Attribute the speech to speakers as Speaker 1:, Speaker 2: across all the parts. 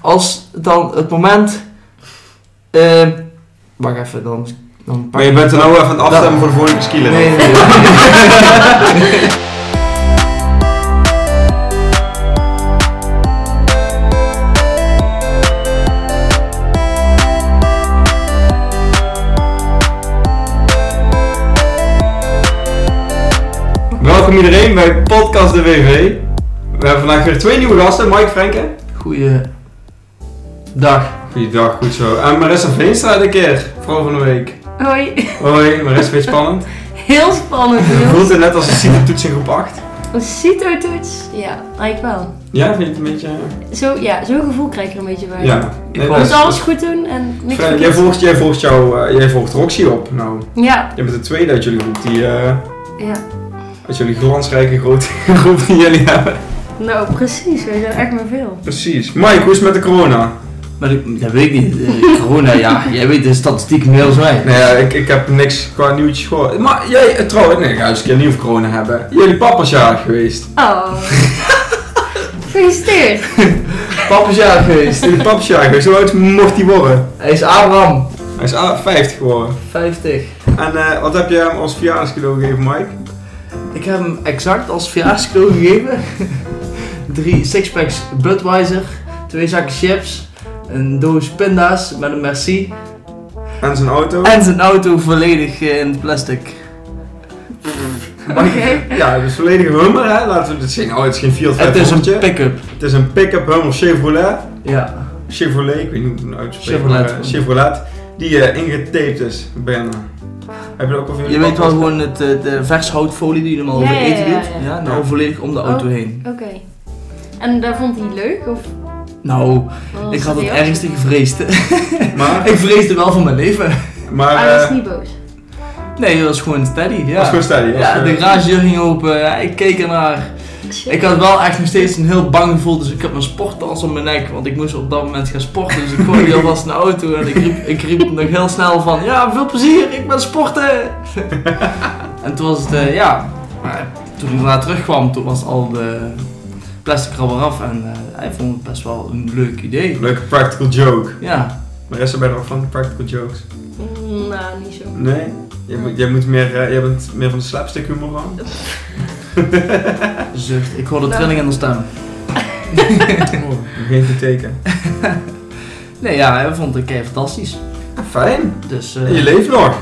Speaker 1: als dan het moment... eh, wacht even, dan... dan pak
Speaker 2: Maar je
Speaker 1: ik-
Speaker 2: bent er nou even aan het afstemmen
Speaker 1: Dat-
Speaker 2: voor de volgende skillen.
Speaker 1: Nee, nee, nee.
Speaker 2: Welkom iedereen bij Podcast de WV. We hebben vandaag weer twee nieuwe gasten, Mike Frenke.
Speaker 1: Goeie... Dag.
Speaker 2: Goeiedag, goed zo. En Marissa Veenstra de keer, vrouw van de week.
Speaker 3: Hoi.
Speaker 2: Hoi, Marissa, vind je het spannend?
Speaker 3: Heel spannend,
Speaker 2: Je
Speaker 3: Niels.
Speaker 2: voelt het net als een CITO-toets in groep 8.
Speaker 3: Een CITO-toets? Ja, eigenlijk wel.
Speaker 2: Ja, vind je het een beetje...
Speaker 3: Zo, ja, zo'n gevoel krijg ik er een beetje bij.
Speaker 2: Ja.
Speaker 3: Ik
Speaker 2: dat
Speaker 3: moet
Speaker 2: is-
Speaker 3: alles goed doen en niks
Speaker 2: Frenke, jij
Speaker 3: verkeerd.
Speaker 2: volgt, jij volgt, jou, eh, jij volgt Roxy op. Nou,
Speaker 3: Ja,
Speaker 2: jij bent de tweede uit jullie groep die... eh,
Speaker 3: ja.
Speaker 2: uit jullie glansrijke grote groep die jullie hebben.
Speaker 3: Nou, precies. Wij zijn echt maar veel.
Speaker 2: Precies. Mike, hoe is het met de corona?
Speaker 1: Maar ik, dat weet ik niet. Eh, corona, ja. Jij weet de statistieken meer dan wij.
Speaker 2: Nee, Nou ja, ik, ik heb niks qua nieuwtjes gehoord. Maar jij, eh, trouwens, nee, ik ga eens een keer nieuw voor corona hebben. Jullie papa is jarig geweest.
Speaker 3: Oh. Gefeliciteerd.
Speaker 1: Pap is jarig geweest.
Speaker 2: Jullie papa is jarig geweest. Hoe oud mocht hij worden?
Speaker 1: Hij is Abraham.
Speaker 2: Hij is ah, 50 geworden.
Speaker 1: 50.
Speaker 2: En eh, wat heb je hem als verjaardagscadeau gegeven, Mike?
Speaker 1: Ik heb hem exact als verjaarscadeau gegeven. Drie sixpacks Budweiser. Twee zakken chips. Een doos pinda's met een merci.
Speaker 2: En zijn auto?
Speaker 1: En zijn auto volledig eh, in het plastic.
Speaker 3: Oké.
Speaker 2: Ja, dus volledig Hummer, hè? Laten we het zien. Oh, het is geen Fiat
Speaker 1: Het is
Speaker 2: 500.
Speaker 1: een pick-up.
Speaker 2: het is een pick-up Hummer Chevrolet.
Speaker 1: Ja.
Speaker 2: Chevrolet, ik weet niet hoe het uitspreekt.
Speaker 1: Chevrolet.
Speaker 2: maar, eh, Chevrolet. Die eh, ingetaped is, bijna. Heb je dat ook al van
Speaker 1: Je
Speaker 2: jullie
Speaker 1: weet
Speaker 2: papa?
Speaker 1: wel gewoon het, eh, de vers houtfolie die je normaal
Speaker 3: Ja,
Speaker 1: over
Speaker 3: ja,
Speaker 1: eten
Speaker 3: ja,
Speaker 1: doet.
Speaker 3: ja.
Speaker 1: Ja, nou volledig om de auto
Speaker 3: Oh.
Speaker 1: heen.
Speaker 3: Oké. En daar vond hij leuk? Of Oh,
Speaker 1: Nou,
Speaker 3: was
Speaker 1: ik had het
Speaker 3: reactie?
Speaker 1: ergste gevreesd.
Speaker 2: Maar,
Speaker 1: ik vreesde wel voor mijn leven.
Speaker 2: maar...
Speaker 3: Hij was
Speaker 2: eh,
Speaker 3: niet boos.
Speaker 1: Nee, dat was gewoon steady. Ja.
Speaker 2: was gewoon steady, was
Speaker 1: Ja,
Speaker 2: gewoon-
Speaker 1: de garagedeur ging open. ja, ik keek ernaar. Ik had wel echt nog steeds een heel bang gevoel, dus ik had mijn sporttas om mijn nek, want ik moest op dat moment gaan sporten. Dus ik gooide alvast in de auto en ik riep, ik riep nog heel snel van, ja, veel plezier, ik ben sporten. en toen was het, eh, ja, maar toen ik daarna terugkwam, toen was al de plastic er al weer af en eh, hij vond het best wel een leuk idee.
Speaker 2: Leuke practical joke.
Speaker 1: Ja,
Speaker 2: Maar rest ben je nog van de practical jokes.
Speaker 3: Mm, nou, niet zo.
Speaker 2: Nee? Jij, moet, jij, moet meer, eh, jij bent meer van de slapstick humor van.
Speaker 1: zucht. Ik hoorde trilling in de stem.
Speaker 2: Oh. Geen geteken.
Speaker 1: Nee, ja, hij vond het kei fantastisch.
Speaker 2: Ah, Fijn.
Speaker 1: Dus,
Speaker 2: En
Speaker 1: eh
Speaker 2: je leeft nog.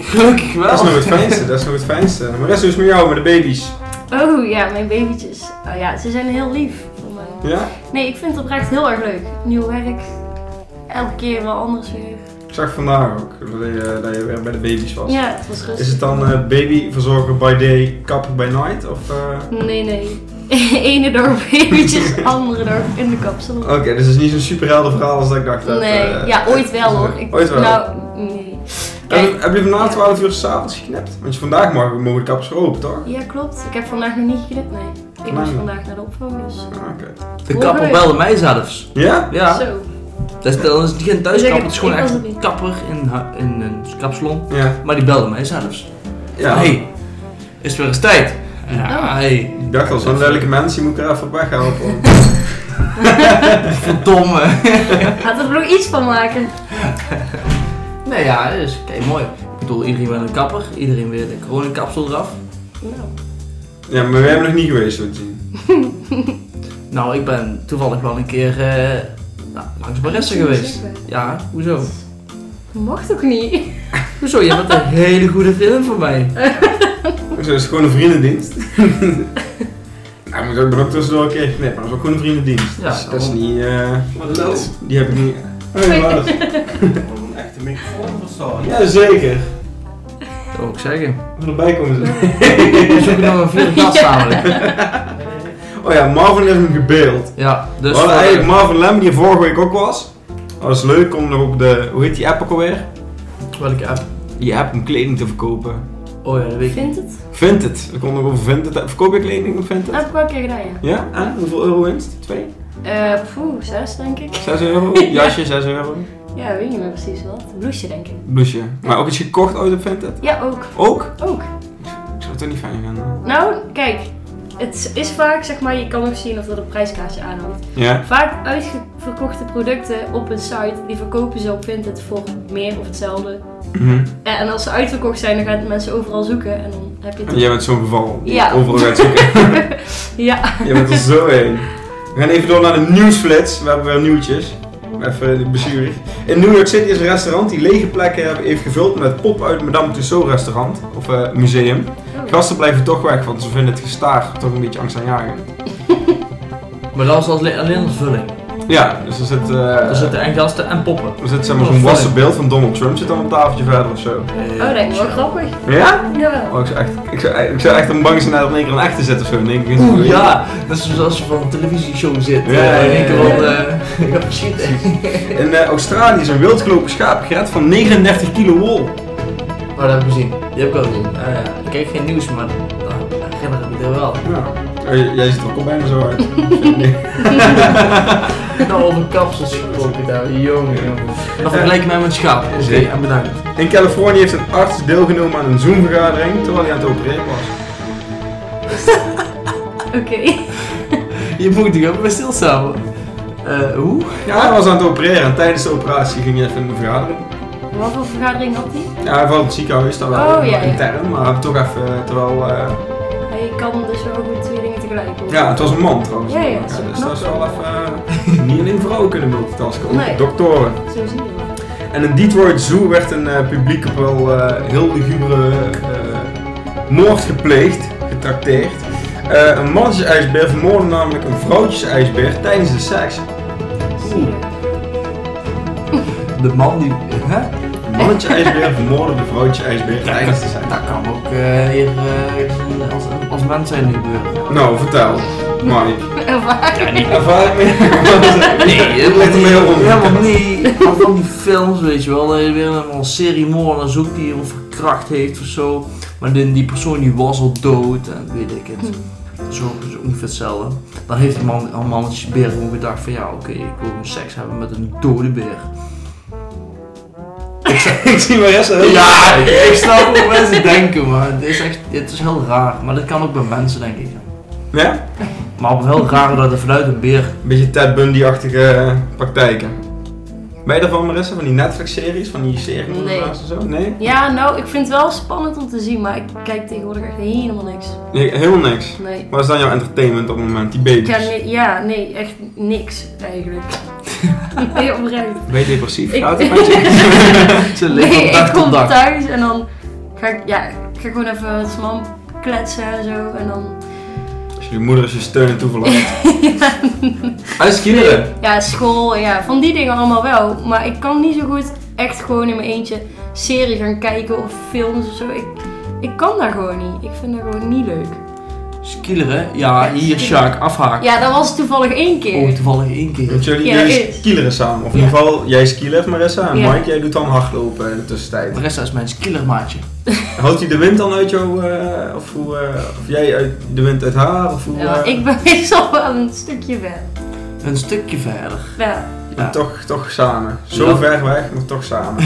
Speaker 1: gelukkig wel.
Speaker 2: Dat is nog het fijnste. Dat is nog het fijnste. Maar rest is met jou, met de baby's.
Speaker 3: Oh ja, mijn babytjes. Oh ja, ze zijn heel lief. Van mij.
Speaker 2: Ja?
Speaker 3: Nee, ik vind het oprecht heel erg leuk. Nieuw werk. Elke keer wel anders weer.
Speaker 2: Ik zag vandaag ook dat je, eh, dat je weer bij de baby's was.
Speaker 3: Ja, het was rustig.
Speaker 2: Is het dan eh, babyverzorger by day, kapper by night? Of, eh?
Speaker 3: Nee, nee. Ene dorp eventjes, andere dorp in de kapsalon.
Speaker 2: Oké, dus het is niet zo'n superhelder verhaal als dat ik dacht. dat,
Speaker 3: nee,
Speaker 2: eh,
Speaker 3: ja, ooit wel hoor. Ik,
Speaker 2: ooit wel.
Speaker 3: Nou, nee.
Speaker 2: Heb je-
Speaker 3: Kijk,
Speaker 2: heb je vandaag
Speaker 3: Ja.
Speaker 2: 12 uur s'avonds geknipt? Want je vandaag mag, mogen de kappers weer open, toch?
Speaker 3: ja, klopt. Ik heb vandaag nog niet geknipt, nee. Ik moest
Speaker 2: Nee.
Speaker 3: vandaag naar de opvang, dus...
Speaker 2: Ah, oké.
Speaker 1: De kapper belde mij zelfs.
Speaker 2: Ja?
Speaker 1: Ja,
Speaker 3: Zo.
Speaker 1: dat is, dat is geen
Speaker 3: Dus ik-
Speaker 1: thuiskapper, het is gewoon
Speaker 3: ik
Speaker 1: echt
Speaker 3: was het
Speaker 1: een
Speaker 3: niet.
Speaker 1: kapper in, hu- in een kapsalon.
Speaker 2: Ja.
Speaker 1: Maar die belde mij zelfs.
Speaker 2: ja.
Speaker 1: hey, is het weer eens tijd? Ja,
Speaker 3: Oh.
Speaker 1: hey,
Speaker 2: Ik dacht al, zo'n lelijke mensen, je moet ik er even op weghelpen.
Speaker 1: verdomme.
Speaker 3: Gaat er nog iets van maken.
Speaker 1: nee, ja, dat is kijk, mooi. Ik bedoel, iedereen met een kapper, iedereen weer de coronakapsel eraf.
Speaker 3: Nou,
Speaker 2: Ja, maar wij hebben nog niet geweest, zo te zien.
Speaker 1: Nou, ik ben toevallig wel een keer eh, nou,
Speaker 3: Ah,
Speaker 1: langs Baressa geweest. Ja, hoezo?
Speaker 2: Oh.
Speaker 3: mocht ook niet.
Speaker 1: Hoezo? Je bent een hele goede vriendin voor mij.
Speaker 2: Dus dat is gewoon een vriendendienst. nou, moet ook, ben ook tussendoor een keer geknipt, maar dat is ook gewoon een vriendendienst.
Speaker 1: Ja,
Speaker 2: dus dat is niet... eh,
Speaker 4: Hallo.
Speaker 2: die heb ik niet... Hey, Lars.
Speaker 4: Wat een echte microfoon verstaan.
Speaker 2: Jazeker.
Speaker 1: Dat wil ik zeggen.
Speaker 2: Van erbij komen ze.
Speaker 1: We zoeken nog een vierde gast namelijk.
Speaker 2: Oh ja, Marvin heeft hem gebeeld.
Speaker 1: Ja,
Speaker 2: We
Speaker 1: dus...
Speaker 2: hadden
Speaker 1: voor-
Speaker 2: eigenlijk Marvin Lem, die er vorige week ook was. Dat is leuk om nog op de... Hoe heet die app ook alweer?
Speaker 1: Welke app?
Speaker 2: Die app om kleding te verkopen.
Speaker 1: Oh ja, dat weet ik
Speaker 3: Vindt het?
Speaker 2: Vindt het. We konden nog over Vinted. Verkoop je kleding op Vinted?
Speaker 3: Dat heb ik wel een keer gedaan, ja.
Speaker 2: Ja? En? Ah, Hoeveel euro winst? Twee?
Speaker 3: Eh, poeh, zes denk ik.
Speaker 2: 6 euro? Jasje, 6 euro.
Speaker 3: Ja, ik weet niet meer precies wat. Bloesje denk ik.
Speaker 2: Blouseje. Maar ook iets gekocht ooit op Vinted?
Speaker 3: Ja, ook.
Speaker 2: Ook?
Speaker 3: Ook.
Speaker 2: Ik zou het toch niet fijn vinden.
Speaker 3: Nou, kijk. het is vaak, zeg maar, je kan nog zien of er een prijskaartje aan hangt.
Speaker 2: Ja?
Speaker 3: Vaak uitverkochte producten op een site, die verkopen ze op Vinted voor meer of hetzelfde.
Speaker 2: Mhm.
Speaker 3: Ja, en als ze uitverkocht zijn, dan gaan de mensen overal zoeken en dan heb je het.
Speaker 2: En jij bent zo'n geval. die
Speaker 3: Ja.
Speaker 2: Overal gaat zoeken.
Speaker 3: Ja.
Speaker 2: jij bent er zo heen. We gaan even door naar de nieuwsflats. We hebben wel nieuwtjes. Even bezuurig. In New York City is een restaurant die lege plekken hebben- heeft gevuld met pop uit Madame Tussauds restaurant. Of eh, museum. Gasten blijven toch weg, want ze vinden het gestaar toch een beetje angstaanjagend.
Speaker 1: Maar dat was als le- alleen als vulling.
Speaker 2: Ja, dus er zit, eh,
Speaker 1: Er zitten en gasten en poppen.
Speaker 2: er zit zeg maar zo'n wassen beeld van Donald Trump zit dan op een tafeltje verder of zo.
Speaker 3: Oh, dat is wel grappig.
Speaker 2: Ja?
Speaker 3: Jawel.
Speaker 2: Oh, ik zou echt, ik zou, ik zou echt om bang zijn dat in één keer een echte zet of zo. In één keer
Speaker 1: Oeh, ja, dat is zoals je van een televisieshow zit.
Speaker 2: Ja,
Speaker 1: eh, in één
Speaker 2: ja,
Speaker 1: keer
Speaker 2: ja.
Speaker 1: van, eh, ik heb verschiet.
Speaker 2: In eh, Australië is een wildgelopen schaap gered van 39 kilo wol.
Speaker 1: Oh, dat heb ik gezien. Die heb ik ook gezien. Ah, ja. Ik kijk geen nieuws, maar dan herinner ik me er wel.
Speaker 2: Ja. Eh, Jij ziet er ook al bijna zo uit.
Speaker 1: Nou, over kapsels gesproken daar. Jongen, jongen. Dat vergelijk mij met schaap. Oké,
Speaker 2: Zeker.
Speaker 1: en bedankt.
Speaker 2: In Californië heeft een arts deelgenomen aan een Zoom-vergadering terwijl hij aan het opereren was.
Speaker 3: Oké.
Speaker 1: Je moet er ook bij stilstaan. hoor. Eh, hoe?
Speaker 2: Ja, hij was aan het opereren en tijdens de operatie ging hij even in een vergadering.
Speaker 3: Wat voor vergadering had hij?
Speaker 2: Ja, hij valt in het ziekenhuis, dan wel
Speaker 3: Oh, ja, ja.
Speaker 2: intern, maar toch even eh, terwijl... eh,
Speaker 3: Hij kan dus wel goed twee dingen tegelijk doen.
Speaker 2: Ja, het was een man trouwens.
Speaker 3: Ja, ja, dat is
Speaker 2: dus
Speaker 3: knap.
Speaker 2: dat is wel even... eh, niet alleen vrouwen kunnen multitasken, ook
Speaker 3: Nee.
Speaker 2: doktoren.
Speaker 3: Zo zie je wel.
Speaker 2: En in Detroit Zoo werd een eh, publiek op wel eh, heel lugubere eh, moord gepleegd, getrakteerd. Eh, een mannetjesijsbeer vermoordde namelijk een vrouwtjesijsbeer tijdens de seks.
Speaker 1: De man die... Hè?
Speaker 2: Een mannetjesijsbeer vermoordde de vrouwtjesijsbeer tijdens de seks.
Speaker 1: Dat kan ook eh, hier eh, als, als mens zijn gebeuren.
Speaker 2: Nou, vertel, Mike.
Speaker 3: Ervaar.
Speaker 2: Ja, niet ervaar ik meer. het ligt er
Speaker 1: niet.
Speaker 2: mij heel onder.
Speaker 1: eh, Helemaal niet. Maar Van die films, weet je wel. Dat je weer een seriemoordenaar zoekt die iemand verkracht heeft of zo. Maar die, die persoon die was al dood en weet ik het.
Speaker 3: Hm.
Speaker 1: Zo is ongeveer hetzelfde. Dan heeft die man, een mannetje beer gewoon gedacht van ja oké, ik wil gewoon seks hebben met een dode beer.
Speaker 2: Ik zie mijn rest heel
Speaker 1: Ja, ik snap hoe mensen denken maar het is echt, het is heel raar. Maar dat kan ook bij mensen denk ik.
Speaker 2: Ja?
Speaker 1: Maar op een heel raar dat er vanuit een beer
Speaker 2: Een beetje Ted Bundy-achtige eh, praktijken. Ben je daarvan, Marissa? Van die Netflix-series? Van die series?
Speaker 3: Nee.
Speaker 2: en zo? Nee?
Speaker 3: Ja, nou, ik vind het wel spannend om te zien, maar ik kijk tegenwoordig echt helemaal niks.
Speaker 2: Nee, Heel niks.
Speaker 3: Nee.
Speaker 2: Wat is dan jouw entertainment op het moment? Die baby's?
Speaker 3: Ja, nee, ja, nee echt niks eigenlijk. Nee, oprecht.
Speaker 2: Ben je depressief?
Speaker 3: Ik-
Speaker 2: Gaat het met je?
Speaker 1: te liggen
Speaker 3: Nee,
Speaker 1: op
Speaker 3: ik
Speaker 1: dag tot
Speaker 3: kom
Speaker 1: dag.
Speaker 3: thuis en dan ga ik, ja, ik ga gewoon even het mam kletsen en zo. En dan,
Speaker 2: Als je moeder is je steun en toeverlaat.
Speaker 3: ja,
Speaker 2: Huis kinderen.
Speaker 3: ja, school, ja, van die dingen allemaal wel. Maar ik kan niet zo goed echt gewoon in mijn eentje serie gaan kijken of films of zo. Ik, ik kan daar gewoon niet. Ik vind dat gewoon niet leuk.
Speaker 1: Skileren? Ja, hier Sjaak, afhaken.
Speaker 3: Ja, dat was toevallig één keer.
Speaker 1: Oh, toevallig één keer.
Speaker 2: Want jullie,
Speaker 3: Ja,
Speaker 2: jullie
Speaker 3: is.
Speaker 2: skileren samen. Of in
Speaker 3: Ja.
Speaker 2: ieder geval, jij skilert Marissa en
Speaker 3: Ja.
Speaker 2: Mike, jij doet dan hardlopen in de tussentijd.
Speaker 1: Marissa is mijn skillermaatje.
Speaker 2: Houdt hij de wind dan uit jou, eh, of, hoe, eh, of jij uit de wind uit haar? Of
Speaker 1: Oh,
Speaker 2: hoe,
Speaker 3: Ja,
Speaker 2: eh,
Speaker 3: ik ben meestal wel een stukje weg.
Speaker 1: Een stukje verder.
Speaker 3: Ja.
Speaker 1: Ja.
Speaker 2: Toch, toch samen. Zo
Speaker 1: Ja.
Speaker 2: ver weg, maar toch samen.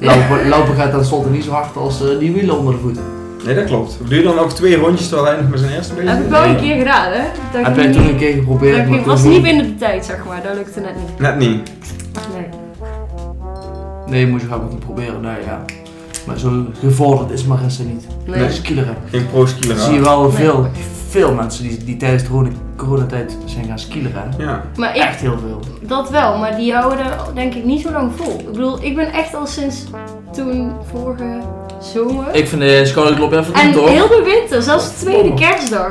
Speaker 1: Lopen, lopen gaat tenslotte niet zo hard als eh, die wielen onder de voeten.
Speaker 2: Nee, dat klopt. Doe je dan ook twee rondjes terwijl hij nog met zijn eerste bezig
Speaker 3: Heb ik
Speaker 2: is?
Speaker 3: wel een keer gedaan, hè? Dat
Speaker 1: Heb
Speaker 3: ik
Speaker 1: jij
Speaker 3: niet-
Speaker 1: toen een keer
Speaker 3: dat
Speaker 1: geprobeerd?
Speaker 3: ik
Speaker 1: maar
Speaker 3: niet- was
Speaker 1: toen-
Speaker 3: niet binnen de tijd, zeg maar. Dat lukte net niet.
Speaker 2: Net niet.
Speaker 3: Nee.
Speaker 1: Nee, moet je gewoon niet proberen. Nee, ja. Maar zo gevorderd is Marissa niet.
Speaker 3: Nee.
Speaker 2: Nee.
Speaker 1: Skileren.
Speaker 2: Geen pro-skiller.
Speaker 1: Zie je wel veel, veel mensen die, die tijdens de corona- coronatijd zijn gaan skileren. hè?
Speaker 2: Ja.
Speaker 3: Maar ik,
Speaker 1: Echt heel veel.
Speaker 3: dat wel. Maar die houden denk ik niet zo lang vol. Ik bedoel, ik ben echt al sinds toen vorige zomer.
Speaker 1: Ik vind de scholenklop even
Speaker 3: en
Speaker 1: goed hoor.
Speaker 3: heel de winter, zelfs de tweede
Speaker 1: Oh.
Speaker 3: kerstdag.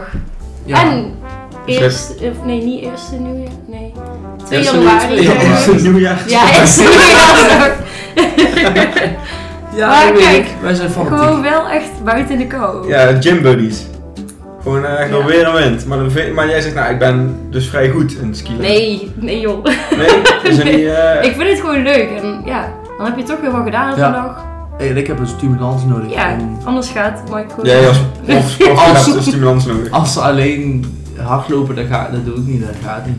Speaker 1: Ja.
Speaker 3: En
Speaker 2: Dus
Speaker 3: eerst, eh, nee, niet eerste nieuwjaar, nee. 2
Speaker 2: Eerste
Speaker 3: januari.
Speaker 2: nieuwjaar-
Speaker 3: zeg maar.
Speaker 2: Eerste nieuwjaar.
Speaker 3: Ja, eerste nieuwjaarsdag.
Speaker 1: ja,
Speaker 3: maar
Speaker 1: ik weet
Speaker 3: kijk,
Speaker 1: het. wij zijn
Speaker 3: Gewoon
Speaker 1: fanatiek.
Speaker 3: wel echt buiten in de kou.
Speaker 2: Ja, gym buddies. Gewoon eh, gewoon
Speaker 3: Ja.
Speaker 2: weer en wind. Maar, dan vind- maar jij zegt, nou, ik ben dus vrij goed in skiën.
Speaker 3: Nee, nee joh.
Speaker 2: Nee? Dus jullie, eh,
Speaker 3: Ik vind het gewoon leuk en ja, dan heb je toch weer wat gedaan op
Speaker 1: Ja.
Speaker 3: een dag.
Speaker 1: Hey, ik heb een stimulans nodig.
Speaker 3: Ja,
Speaker 1: om-
Speaker 3: anders gaat Mike gewoon.
Speaker 2: Jij als prof- prof
Speaker 1: Als-
Speaker 2: hebt een stimulans nodig.
Speaker 1: Als ze alleen hardlopen, dat, gaat, dat doe ik niet, dat gaat niet.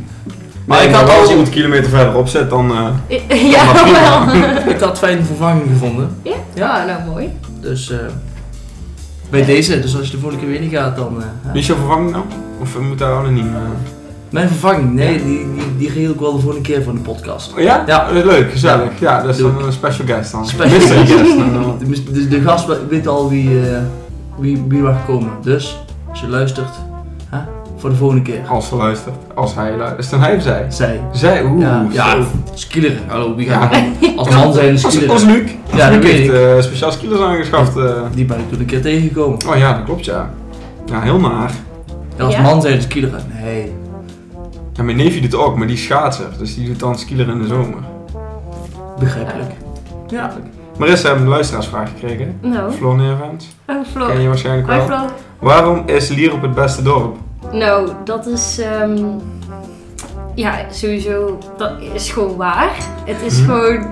Speaker 1: Maar
Speaker 2: Nee,
Speaker 1: ik had
Speaker 2: als
Speaker 1: al
Speaker 2: iemand kilometer verderop zet, dan... eh,
Speaker 3: Ja,
Speaker 2: Dat mag
Speaker 3: wel.
Speaker 1: ik had fijn vervanging gevonden.
Speaker 3: Ja, nou mooi.
Speaker 1: Dus eh, Bij deze, dus als je de volgende keer weer niet gaat, dan... eh,
Speaker 2: Wie is jouw vervanging nou? Of eh, moet daar anoniem? eh?
Speaker 1: Mijn vervanging, nee, die, die, die regel ik wel de volgende keer van de podcast.
Speaker 2: Oh, ja?
Speaker 1: Ja.
Speaker 2: Eh, Leuk, gezellig. Ja, dat is
Speaker 1: Doe
Speaker 2: dan een eh, special guest dan.
Speaker 1: Special
Speaker 2: Mystery
Speaker 1: guest.
Speaker 2: guest. dan wel.
Speaker 1: De, mis- dus de, de gast we- weet al wie, eh, wie, wie mag komen. Dus, als je luistert, hè, voor de volgende keer.
Speaker 2: eh, Als ze luistert. Als hij luistert. Is het een hij of zij?
Speaker 1: Zij.
Speaker 2: Zij, oeh.
Speaker 1: Ja, ja
Speaker 2: zo.
Speaker 1: skieler. Hallo, wie
Speaker 2: Ja.
Speaker 1: gaat er komen? Als man zijn de
Speaker 2: Als,
Speaker 1: skieler.
Speaker 2: als Luc. Als
Speaker 1: Ja, dat
Speaker 2: Luc
Speaker 1: weet
Speaker 2: heeft
Speaker 1: ik.
Speaker 2: eh, speciaal skillers aangeschaft. eh.
Speaker 1: Die ben ik toen een keer tegengekomen.
Speaker 2: Oh ja, dat klopt ja. Ja, heel naar.
Speaker 1: Ja, als
Speaker 3: Ja?
Speaker 1: man zijn de skieler. Nee.
Speaker 2: Ja, mijn neefje doet ook, maar die is schaatser. Dus die doet dan skiller in de zomer.
Speaker 1: Begrijpelijk.
Speaker 2: Ja. Marissa heeft een luisteraarsvraag gekregen.
Speaker 3: Nou,
Speaker 2: Floor Neervens.
Speaker 3: oh,
Speaker 2: Ken
Speaker 3: Floor.
Speaker 2: je waarschijnlijk
Speaker 3: Hoi
Speaker 2: wel.
Speaker 3: Floor.
Speaker 2: Waarom is Lierop het beste dorp?
Speaker 3: Nou, dat is. ehm, ja, sowieso. Dat is gewoon waar. Het is
Speaker 2: Mhm.
Speaker 3: gewoon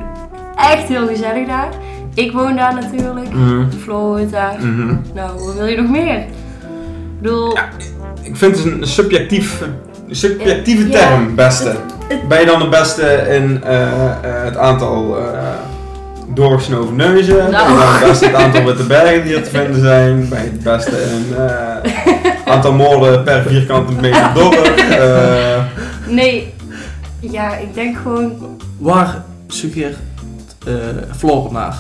Speaker 3: echt heel gezellig daar. Ik woon daar natuurlijk.
Speaker 2: Mhm.
Speaker 3: Flo woont daar.
Speaker 2: Mhm.
Speaker 3: Nou, wat wil je nog meer? Ik bedoel,
Speaker 2: Ik vind het een subjectief, een subjectieve
Speaker 3: Ja.
Speaker 2: term, beste.
Speaker 3: het-
Speaker 2: Ben je dan de beste in eh, eh, het aantal eh doorgesnoven neuzen?
Speaker 3: Nou.
Speaker 2: Ben je dan het beste in het aantal witte bergen die er te vinden zijn? Ben je het beste in eh, aantal moorden per vierkante meter dorp? Eh,
Speaker 3: nee. Ja, ik denk gewoon.
Speaker 1: Waar suggereert eh Floor naar?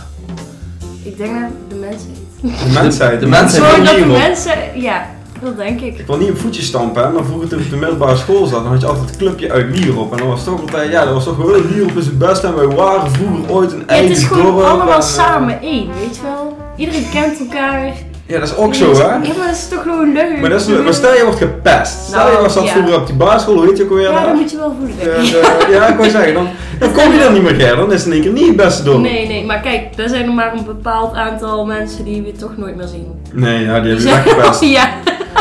Speaker 3: Ik denk dat de mensen.
Speaker 2: de mensheid.
Speaker 1: de mensheid.
Speaker 2: wil
Speaker 3: Gewoon dat de
Speaker 2: niet op-
Speaker 3: mensen. Ja, dat denk ik.
Speaker 2: Ik wil niet op voetjes stampen, hè, maar vroeger toen ik op de middelbare school zat, dan had je altijd het clubje uit Lierop. En dan was het toch altijd, ja, dat was toch gewoon Lierop is het beste en wij waren vroeger ooit een
Speaker 3: Ja, het
Speaker 2: eigen
Speaker 3: is gewoon
Speaker 2: dorp
Speaker 3: allemaal
Speaker 2: en, eh,
Speaker 3: samen één, weet je wel? Iedereen kent elkaar.
Speaker 2: Ja, dat is ook zo, hè?
Speaker 3: Ja, maar dat is toch gewoon leuk.
Speaker 2: Maar, dat is, maar stel je wordt gepest. Stel je
Speaker 3: Nou,
Speaker 2: was dat
Speaker 3: ja.
Speaker 2: vroeger op die basisschool, hoe heet je ook alweer?
Speaker 3: Ja,
Speaker 2: daar?
Speaker 3: dat moet je wel voelen. denk ik.
Speaker 2: Eh, de- ja, ik wou zeggen, dan, dan kom je dan niet meer Ger, dan is het in één keer niet het beste dorp.
Speaker 3: Nee, nee, maar kijk, er zijn er maar een bepaald aantal mensen die we toch nooit meer zien.
Speaker 2: Nee, ja, die hebben
Speaker 3: Die
Speaker 2: je
Speaker 3: zeggen,
Speaker 2: weggepest.
Speaker 3: oh ja,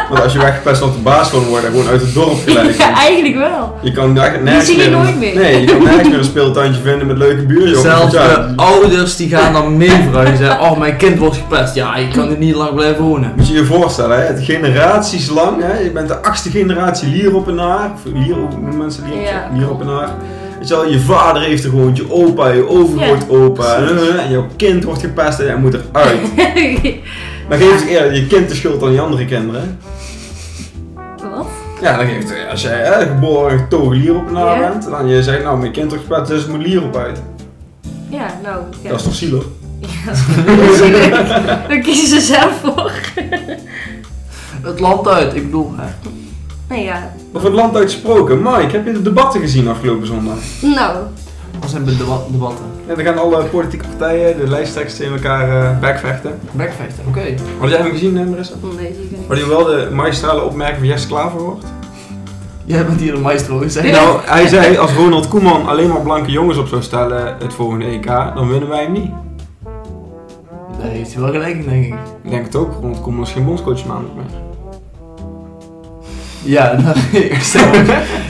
Speaker 2: Want als je weggepest op de basisschool wordt, dan gewoon uit het dorp gelijk.
Speaker 3: ja, eigenlijk wel.
Speaker 2: Je kan daar nergens
Speaker 3: zie je
Speaker 2: meer een-
Speaker 3: nooit meer.
Speaker 2: Nee, je kan nergens meer een speeltuintje vinden met leuke buurjongens.
Speaker 1: Zelfs
Speaker 2: ja,
Speaker 1: de ouders die gaan dan mee verhuizen. Oh, mijn kind wordt gepest. Ja, je kan er niet lang blijven wonen.
Speaker 2: Moet je je voorstellen, hè? het generaties lang, hè? je bent de achtste generatie Lieroppenaar, of Lier, hoe noemen mensen Lier,
Speaker 3: Ja.
Speaker 2: Lieroppenaar. Weet je, wel, je vader heeft er gewoon, je opa, je overgrootopa,
Speaker 3: Ja, precies.
Speaker 2: en, en jouw kind wordt gepest en jij moet eruit. Dan geeft het eerder je kind de schuld aan die andere kinderen.
Speaker 3: Wat?
Speaker 2: Ja, dan geeft het, als jij hè, geboren getogen Lieroppenaar
Speaker 3: Ja.
Speaker 2: bent, dan je zegt, nou mijn kind wordt gepest, dus het moet Lierop uit.
Speaker 3: Ja, nou, ja.
Speaker 2: Dat is toch zielig?
Speaker 3: Daar kiezen ze zelf voor.
Speaker 1: Het land uit, ik bedoel. Hè.
Speaker 3: Nou ja,
Speaker 2: Over het land uitgesproken, Mike, heb je de debatten gezien afgelopen zondag?
Speaker 3: nou,
Speaker 1: Wat zijn de debat- debatten?
Speaker 2: Ja, dan gaan alle politieke partijen, de lijsttrekkers in elkaar eh, bekvechten.
Speaker 1: Backvechten, oké.
Speaker 2: Had jij hem gezien, hè, Marissa?
Speaker 3: nee, zie ik niet.
Speaker 2: Had je wel de magistrale opmerking van Jesse Klaver gehoord?
Speaker 1: Jij bent hier de maestro, hè?
Speaker 3: Ja.
Speaker 2: Nou, hij zei als Ronald Koeman alleen maar blanke jongens op zou stellen het volgende EK, dan winnen wij hem niet.
Speaker 1: Daar heeft hij wel gelijk in, denk ik.
Speaker 2: Ik denk het ook, Ronald Koeman is geen bondscoach maandelijk meer.
Speaker 1: Ja, nou, ik stel-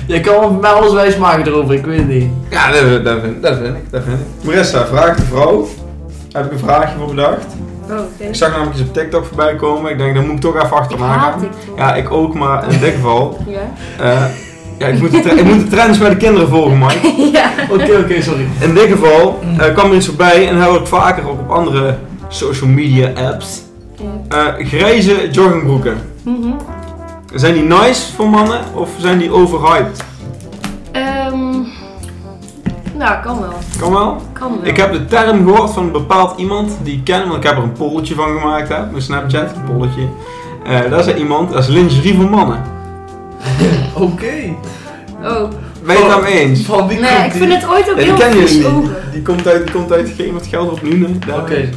Speaker 1: Jij kan wel met mij alles wijs maken erover, ik weet het niet.
Speaker 2: Ja, dat, dat, vind, dat vind ik, dat vind ik. Marissa, vraag de vrouw. Heb ik een vraagje voor bedacht.
Speaker 3: Oh, oké.
Speaker 2: Ik zag namelijk eens op TikTok voorbij komen, ik denk, daar moet ik toch even
Speaker 3: Ik
Speaker 2: achteraan
Speaker 3: haat
Speaker 2: gaan.
Speaker 3: TikTok.
Speaker 2: Ja, ik ook, maar in dit geval...
Speaker 3: Ja?
Speaker 2: eh, ja, ik moet, de tre- ik moet de trends bij de kinderen volgen, Mike.
Speaker 3: Ja.
Speaker 1: Oké, oké, sorry.
Speaker 2: In dit geval eh, kwam er iets voorbij en heb ik vaker ook op andere social media apps. Eh, grijze joggingbroeken.
Speaker 3: Mhm.
Speaker 2: Zijn die nice voor mannen of zijn die overhyped?
Speaker 3: Ehm, nou, kan wel.
Speaker 2: Kan wel.
Speaker 3: Kan wel.
Speaker 2: Ik heb de term gehoord van een bepaald iemand die ik ken, want ik heb er een polletje van gemaakt hè, op mijn Snapchat. Een polletje. Eh daar zei iemand, dat is lingerie voor mannen.
Speaker 1: Oké.
Speaker 3: Oh,
Speaker 2: Ben je het
Speaker 1: Oh.
Speaker 2: daarmee eens?
Speaker 1: Van wie
Speaker 3: nee,
Speaker 1: komt
Speaker 3: ik
Speaker 1: die?
Speaker 3: vind het ooit ook
Speaker 2: Ja, die
Speaker 3: heel
Speaker 2: kennen jullie
Speaker 3: vies
Speaker 2: niet.
Speaker 3: ogen.
Speaker 2: Die komt uit, die komt uit Gemert Gelder op Nuenen.
Speaker 1: Oké.
Speaker 2: daar.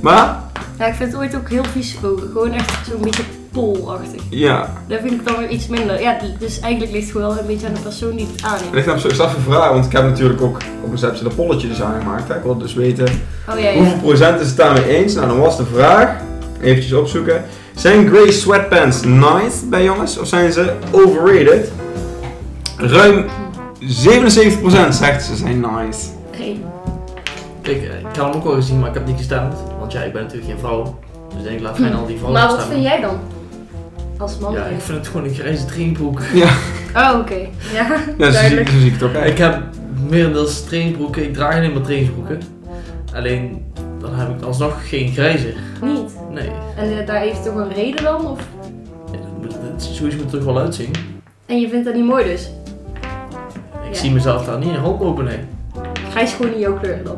Speaker 2: Maar,
Speaker 3: Ja, ik vind het ooit ook heel vies ogen. Gewoon echt zo'n beetje polachtig.
Speaker 2: ja.
Speaker 3: Dat vind ik dan weer iets minder. Ja, dus eigenlijk ligt het gewoon wel een beetje aan de persoon die het aanneemt.
Speaker 2: Ik heb zo straks een vraag, want ik heb natuurlijk ook op mijn Snapchat een polletje dus aangemaakt. Hè. Ik wil dus weten
Speaker 3: Oh ja, ja.
Speaker 2: Hoeveel procent is het daarmee eens? Nou, dan was de vraag, eventjes opzoeken. Zijn grey sweatpants nice bij jongens of zijn ze overrated? Ruim 77% zegt ze zijn nice.
Speaker 3: Hey.
Speaker 1: Kijk, eh, ik had hem ook al gezien, maar ik heb niet gestemd. Want ja, ik ben natuurlijk geen vrouw. Dus ik denk, laat fijn al die vrouwen
Speaker 3: Maar wat
Speaker 1: stemmen.
Speaker 3: vind jij dan? Als man?
Speaker 1: Ja, ik vind het gewoon een grijze trainbroek.
Speaker 3: Oh, oké. Ja,
Speaker 2: Ja, zo zie,
Speaker 3: duidelijk.
Speaker 2: zo zie ik het ook.
Speaker 1: Ik
Speaker 2: hè.
Speaker 1: heb merendeels trainingsbroeken. Ik draag alleen maar trainingsbroeken. Alleen dan heb ik alsnog geen grijze.
Speaker 3: Niet.
Speaker 1: Nee,
Speaker 3: En eh, daar heeft toch een reden dan? Of...
Speaker 1: Ja, dat moet- dat- zoiets moet het er wel uitzien.
Speaker 3: En je vindt dat niet mooi dus?
Speaker 1: Ik
Speaker 3: Ja.
Speaker 1: zie mezelf daar niet in rondlopen, nee.
Speaker 3: Grijs is gewoon niet jouw kleur dan.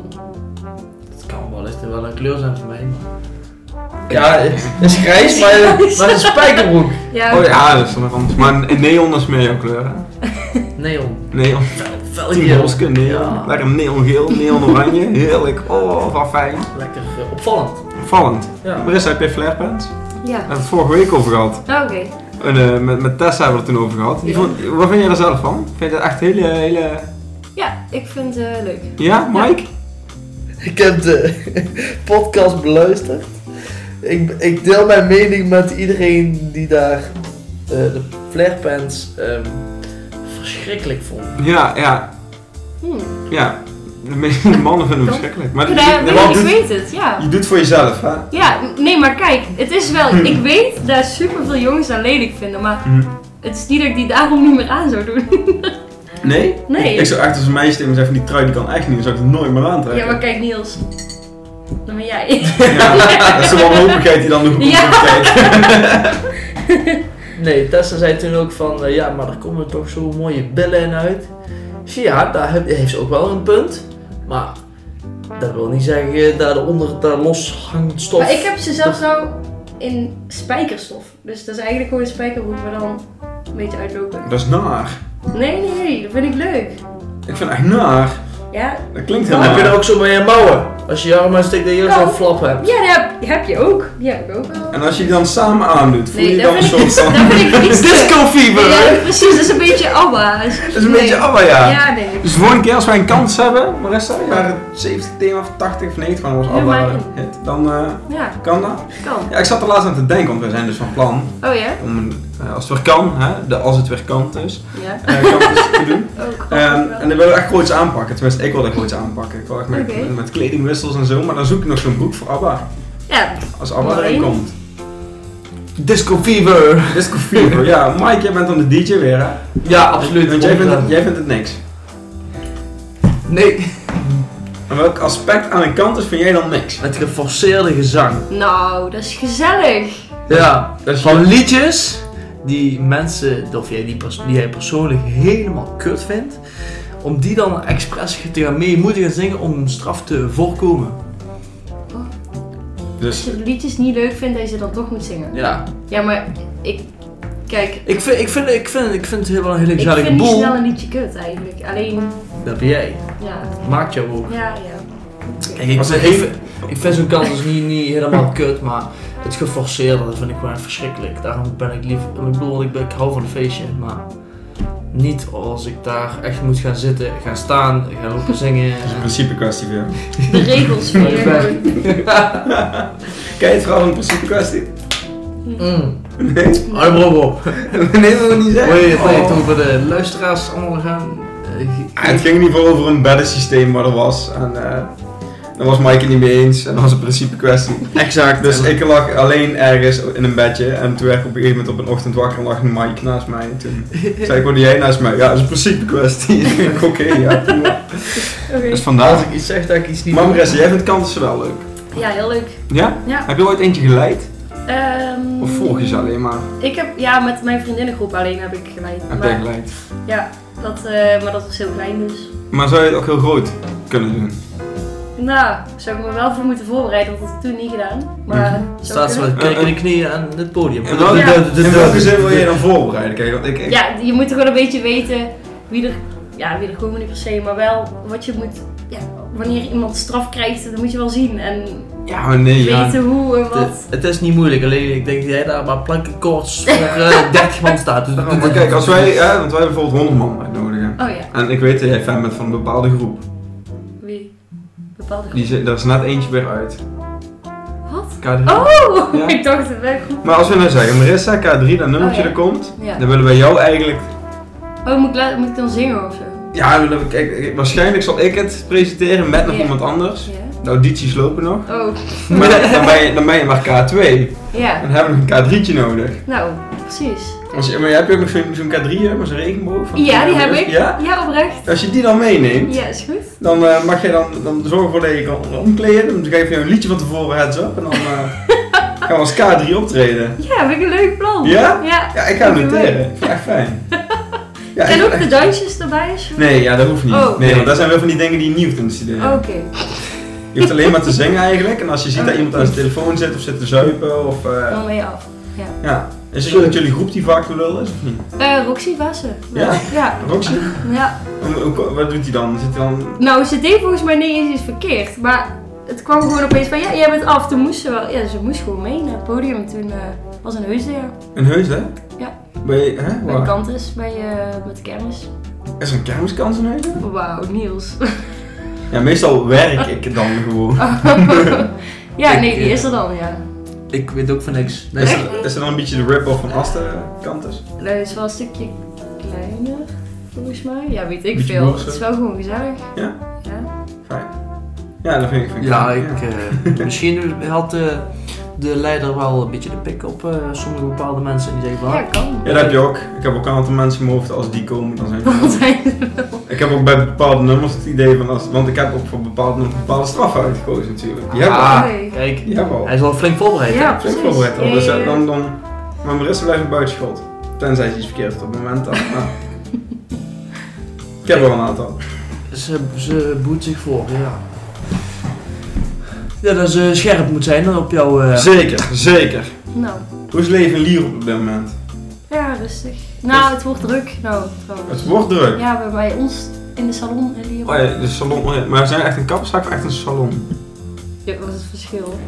Speaker 1: Het kan wel eens wel een kleur zijn voor mij. maar- Ja, het is grijs, maar
Speaker 3: Grijs.
Speaker 1: maar het is een spijkerbroek.
Speaker 3: Ja,
Speaker 2: Oh ja, dat is dan nog anders. Maar een neon is meer jouw kleur, hè?
Speaker 1: Neon.
Speaker 2: Neon.
Speaker 1: Vel
Speaker 2: Team Boske, neon.
Speaker 1: Ja.
Speaker 2: Lekker neongeel, neon oranje. Heerlijk. Oh, wat fijn.
Speaker 1: Lekker eh, opvallend.
Speaker 2: Opvallend.
Speaker 1: Ja.
Speaker 2: Marissa, heb jij flarepants?
Speaker 3: ja.
Speaker 2: We hebben het vorige week over gehad.
Speaker 3: Ah, oké.
Speaker 2: En, eh, met, met Tessa hebben we het toen over gehad. Die
Speaker 1: Ja.
Speaker 2: vond, wat vind jij er zelf van? Vind je dat echt hele, hele...
Speaker 3: Ja, ik vind het leuk.
Speaker 2: Ja, Mike?
Speaker 1: Ik heb de podcast beluisterd. Ik, ik deel mijn mening met iedereen die daar eh, de flarepants ehm, verschrikkelijk vond.
Speaker 2: Ja, ja,
Speaker 3: Hmm.
Speaker 2: ja. De meeste mannen vinden het verschrikkelijk. Maar
Speaker 3: Ja,
Speaker 2: dit- dit-
Speaker 3: weet
Speaker 2: wat
Speaker 3: ik
Speaker 2: doet-
Speaker 3: weet het, ja.
Speaker 2: je doet het voor jezelf, hè?
Speaker 3: Ja, m- nee, maar kijk, het is wel.
Speaker 2: Hmm.
Speaker 3: Ik weet dat superveel jongens aan lelijk vinden, maar
Speaker 2: Hm.
Speaker 3: het is niet dat ik die daarom niet meer aan zou doen.
Speaker 2: Nee?
Speaker 3: Nee.
Speaker 2: Ik, ik zou echt als een meisje tegen me zeggen, die trui die kan echt niet, dan zou ik het nooit meer aantrekken.
Speaker 3: Ja, maar kijk, Niels. Dan ben jij.
Speaker 2: Ja, dat is de wanhopigheid die dan nog op ons
Speaker 3: Ja.
Speaker 2: kijkt.
Speaker 1: Nee, Tessa zei toen ook van, eh, ja, maar daar komen toch zo mooie billen in uit. Ik zei, Ja, daar heb- heeft ze ook wel een punt. Maar dat wil niet zeggen eh, dat eronder daar los hangt stof.
Speaker 3: Maar ik heb ze zelfs nou in spijkerstof. Dus dat is eigenlijk gewoon een spijkerbroek, maar dan een beetje uitlopen.
Speaker 2: Dat is naar.
Speaker 3: Nee, nee, nee, dat vind ik leuk.
Speaker 2: Ik vind het echt naar.
Speaker 3: Ja,
Speaker 2: Dat klinkt heel
Speaker 1: Dan heb
Speaker 2: naar.
Speaker 1: je er ook zo mee je mouwen. Als je je arm uitsteekt, dat je zo'n
Speaker 3: Oh.
Speaker 1: flap hebt.
Speaker 3: ja die, heb, die heb je ook. Die heb ik ook wel.
Speaker 2: En als je die dan samen aandoet, voel je
Speaker 3: Nee,
Speaker 2: je
Speaker 3: dat
Speaker 2: dan een
Speaker 3: vind, ik,
Speaker 2: soort van...
Speaker 3: dat vind ik iets te-
Speaker 2: Disco fever,
Speaker 3: Ja,
Speaker 2: hè?
Speaker 3: precies, dat is een beetje ABBA. Dat is,
Speaker 2: Dat is een beetje abba, ja.
Speaker 3: Ja, nee.
Speaker 2: Dus de volgende keer als wij een kans hebben, Marissa, jaren 70 thema of 80 of 90 van ons
Speaker 3: Ja,
Speaker 2: abba
Speaker 3: maar-
Speaker 2: hit, dan eh,
Speaker 3: Ja,
Speaker 2: kan dat.
Speaker 3: kan.
Speaker 2: Ja, ik zat er laatst aan te denken, want we zijn dus van plan
Speaker 3: Oh ja?
Speaker 2: om, een, eh, als het weer kan, hè, de als het weer kan dus,
Speaker 3: Ja.
Speaker 2: eh, kan het dus te doen.
Speaker 3: Oh, god,
Speaker 2: Ehm,
Speaker 3: wel.
Speaker 2: en dan wil ik echt groot iets aanpakken. Tenminste, ik wil echt groot iets aanpakken. Ik wil echt met,
Speaker 3: Oké.
Speaker 2: met kledingwissels en zo. Maar dan zoek ik nog zo'n broek voor ABBA.
Speaker 3: Ja,
Speaker 2: Als ABBA
Speaker 3: Mooi.
Speaker 2: erin komt.
Speaker 1: Disco fever.
Speaker 2: Disco Fever. ja, Mike, jij bent dan de DJ weer, hè?
Speaker 1: Ja, absoluut.
Speaker 2: Want jij vindt, het, jij vindt het niks.
Speaker 1: Nee.
Speaker 2: En welk aspect aan een kant is, vind jij dan niks?
Speaker 1: Het geforceerde gezang.
Speaker 3: nou, dat is gezellig.
Speaker 1: Ja.
Speaker 2: Dat is
Speaker 1: Van
Speaker 2: je-
Speaker 1: liedjes die mensen, of jij die, pers- die jij persoonlijk helemaal kut vindt. Om die dan expres te gaan mee moeten gaan zingen om een straf te voorkomen.
Speaker 3: Als
Speaker 2: Dus,
Speaker 3: je de liedjes niet leuk vindt, dat je ze dan toch moet zingen.
Speaker 1: Ja.
Speaker 3: Ja, maar ik... Kijk,
Speaker 1: Ik vind, ik vind, ik vind, ik vind het wel een hele
Speaker 3: ik
Speaker 1: gezellige
Speaker 3: vind niet
Speaker 1: boel.
Speaker 3: snel een liedje kut eigenlijk. Alleen,
Speaker 1: Dat ben jij.
Speaker 3: ja,
Speaker 1: Maakt jou ook.
Speaker 3: ja, ja.
Speaker 1: Kijk, ik,
Speaker 2: Als
Speaker 1: vind,
Speaker 2: er
Speaker 1: ik, vind- ik vind zo'n kans dus niet, niet helemaal kut, maar het geforceerde dat vind ik gewoon verschrikkelijk. Daarom ben ik lief. Ik bedoel, ik, ben, ik hou van een feestje, maar niet als ik daar echt moet gaan zitten, gaan staan, gaan lopen zingen.
Speaker 2: dat is een principe kwestie weer.
Speaker 3: De regels vind je
Speaker 1: Ja.
Speaker 3: gewoon...
Speaker 2: Ken je het verhaal van een principe kwestie?
Speaker 1: Mm.
Speaker 2: Nee?
Speaker 1: Arm op op.
Speaker 2: Nee, dat wil ik niet
Speaker 1: Wil je
Speaker 2: zeggen.
Speaker 1: het weten
Speaker 2: Oh.
Speaker 1: over de luisteraars allemaal gaan? eh, ge-
Speaker 2: Ah, het ging in ieder geval over een beddensysteem waar er was. En eh, daar was Mike het niet mee eens. En dat was een principe kwestie.
Speaker 1: Exact.
Speaker 2: Dus ik lag alleen ergens in een bedje en toen werd ik op een gegeven moment op een ochtend wakker en lag een Mike naast mij. En toen zei ik, wat doe jij naast mij? Ja, dat is een principe kwestie. Ik denk, Oké, ja, prima.
Speaker 3: Oké.
Speaker 2: Dus
Speaker 1: Als
Speaker 2: vandaar.
Speaker 1: ik iets zeg dat ik iets niet
Speaker 2: Maar Marissa, jij vindt kansen wel leuk.
Speaker 3: Ja, heel leuk.
Speaker 2: Ja?
Speaker 3: Ja.
Speaker 2: Heb je ooit eentje geleid?
Speaker 3: Ehm,
Speaker 2: Of volg je ze alleen maar?
Speaker 3: Ik heb, ja, met mijn vriendinnengroep alleen heb ik geleid.
Speaker 2: Heb jij
Speaker 3: maar,
Speaker 2: geleid?
Speaker 3: ja, dat, eh, maar dat was heel klein dus.
Speaker 2: Maar zou je het ook heel groot kunnen doen?
Speaker 3: Nou, zou ik me wel voor moeten voorbereiden, dat had ik toen niet gedaan. Maar zou
Speaker 1: Staat ze
Speaker 3: kunnen.
Speaker 1: met knik in de knieën aan het podium.
Speaker 2: En welke,
Speaker 3: Ja.
Speaker 2: in welke zin wil je dan voorbereiden? Kijk, want ik, ik,
Speaker 3: Ja, je moet gewoon een beetje weten wie er, ja, wie er gewoon niet per se, maar wel wat je moet, ja, wanneer iemand straf krijgt, dat moet je wel zien. En
Speaker 2: ja, maar nee, ja.
Speaker 3: weten hoe en wat.
Speaker 1: Het, het is niet moeilijk, alleen ik denk dat jij daar maar plankenkoorts voor eh 30 man staat. Dus-
Speaker 2: Oh, Maar kijk, als wij, hè, want wij hebben bijvoorbeeld 100 man uitnodigen.
Speaker 3: Oh ja,
Speaker 2: En ik weet dat jij fan bent van een bepaalde groep.
Speaker 3: wie? Bepaalde groep.
Speaker 2: Die, zit- daar is net eentje weer uit.
Speaker 3: Wat?
Speaker 2: KD.
Speaker 3: Oh,
Speaker 2: Ja.
Speaker 3: ik dacht het wel goed.
Speaker 2: Maar als we nou zeggen, Marissa, K3, dat nummertje
Speaker 3: Oh, ja.
Speaker 2: er komt,
Speaker 3: Ja.
Speaker 2: dan willen wij jou eigenlijk...
Speaker 3: Oh, moet ik, la- moet ik dan zingen of zo?
Speaker 2: Ja, dan willen we- kijk, ik- waarschijnlijk zal ik het presenteren met nog
Speaker 3: Ja.
Speaker 2: iemand anders.
Speaker 3: Ja.
Speaker 2: De audities lopen nog.
Speaker 3: Oh,
Speaker 2: Maar dan, dan ben je, dan ben je maar K2.
Speaker 3: ja.
Speaker 2: Dan hebben we nog een K3'tje nodig.
Speaker 3: Nou, precies.
Speaker 2: Als je, maar heb je ook nog zo'n zo'n K3'er, maar zo'n regenboog? van-
Speaker 3: Ja, die heb ik.
Speaker 2: Ja?
Speaker 3: Ja, oprecht.
Speaker 2: Als je die dan meeneemt,
Speaker 3: Ja, is goed.
Speaker 2: Dan eh, mag jij dan, dan zorgen voor dat je kan omkleden. Dan geef je een liedje van tevoren heads up. En dan, eh, Gaan we als K3 optreden?
Speaker 3: Ja, vind ik een leuk plan.
Speaker 2: Ja?
Speaker 3: Ja.
Speaker 2: Ja, ik ga het noteren. Ik vind het echt fijn. Ja,
Speaker 3: en
Speaker 2: ik-
Speaker 3: ook de dansjes erbij? als je-
Speaker 2: Nee, ja, dat hoeft niet.
Speaker 3: Oh.
Speaker 2: Nee, want daar zijn wel van die dingen die je niet hoeft in te
Speaker 3: Oh,
Speaker 2: studeren.
Speaker 3: Oh. Oké.
Speaker 2: Je hoeft alleen maar te zingen eigenlijk. En als je ziet dat iemand aan zijn telefoon zit of zit te zuipen of... eh,
Speaker 3: Dan ben je af. Ja.
Speaker 2: ja. Is het ook dat jullie groep die vaak de lul is of niet?
Speaker 3: Eh, Roxy Wassen.
Speaker 2: Ja?
Speaker 3: Ja.
Speaker 2: Roxy?
Speaker 3: ja.
Speaker 2: Hoe- hoe- Wat doet hij dan? Zit hij dan...
Speaker 3: Nou, ze deed volgens mij niet eens iets verkeerd. Maar het kwam gewoon opeens van, ja, jij bent af. Toen moest ze wel, ja, ze moest gewoon mee naar het podium. Toen eh, was een heusdeer.
Speaker 2: Een heus, hè?
Speaker 3: Ja.
Speaker 2: Ben je... Hè?
Speaker 3: Bij
Speaker 2: Waar?
Speaker 3: Kantis, bij, eh, met de kermis.
Speaker 2: Is er een kermiskans in Heuzen?
Speaker 3: Wauw, Niels.
Speaker 2: Ja, meestal werk ik dan gewoon.
Speaker 3: ja,
Speaker 1: Ik,
Speaker 3: nee, die
Speaker 1: eh,
Speaker 3: is er dan, ja.
Speaker 1: Ik weet ook van niks. Dus, Nee,
Speaker 2: Is er, is er dan een beetje de rip-off van Asten kant dus? is?
Speaker 3: Dat Nou, is wel een stukje kleiner, volgens mij. Ja, weet ik
Speaker 2: Beetje
Speaker 3: veel.
Speaker 2: boos, hè?
Speaker 3: Het is wel gewoon gezellig.
Speaker 2: Ja?
Speaker 3: Ja.
Speaker 2: Fijn. Ja, dat vind ik... Vind ik
Speaker 1: Ja,
Speaker 2: fijn,
Speaker 1: ik, eh, misschien had eh, de leider wel een beetje de pik op eh, sommige bepaalde mensen. En die zeggen van,
Speaker 3: ja, kan.
Speaker 2: Ja, dat heb je ook. Ik heb ook een aantal mensen in mijn hoofd, als die komen, dan zijn
Speaker 3: Dan
Speaker 2: ik...
Speaker 3: zijn ze-
Speaker 2: ik heb ook bij bepaalde nummers het idee van, als, want ik heb ook voor bepaalde nummers bepaalde straffen uitgekozen natuurlijk. Die hebben
Speaker 1: ah,
Speaker 3: Oké.
Speaker 1: kijk,
Speaker 2: we. Die hebben we al.
Speaker 1: hij is wel flink voorbereid.
Speaker 3: Ja,
Speaker 2: Dat is ook
Speaker 3: precies.
Speaker 2: wel wet, al. Dus
Speaker 3: Ja, ja,
Speaker 2: eh,
Speaker 3: ja.
Speaker 2: dan, dan... Maar Marissa blijft buiten schot. Tenzij ze iets verkeerd doet op het moment dan. maar- Ik heb wel een aantal.
Speaker 1: Ze, ze boet zich voor, ja. Ja, dat ze scherp moet zijn dan op jouw... eh,
Speaker 2: Zeker, zeker.
Speaker 3: Nou,
Speaker 2: Hoe is het leven in Lier op dit moment?
Speaker 3: ja, rustig. Nou, het wordt druk. Nou, trouwens.
Speaker 2: Het wordt druk.
Speaker 3: Ja, bij- bij ons in de salon en hier.
Speaker 2: Oh ja, de salon. oh ja, Maar we zijn echt een kapperszaak of echt een salon?
Speaker 3: Ja, wat is het verschil?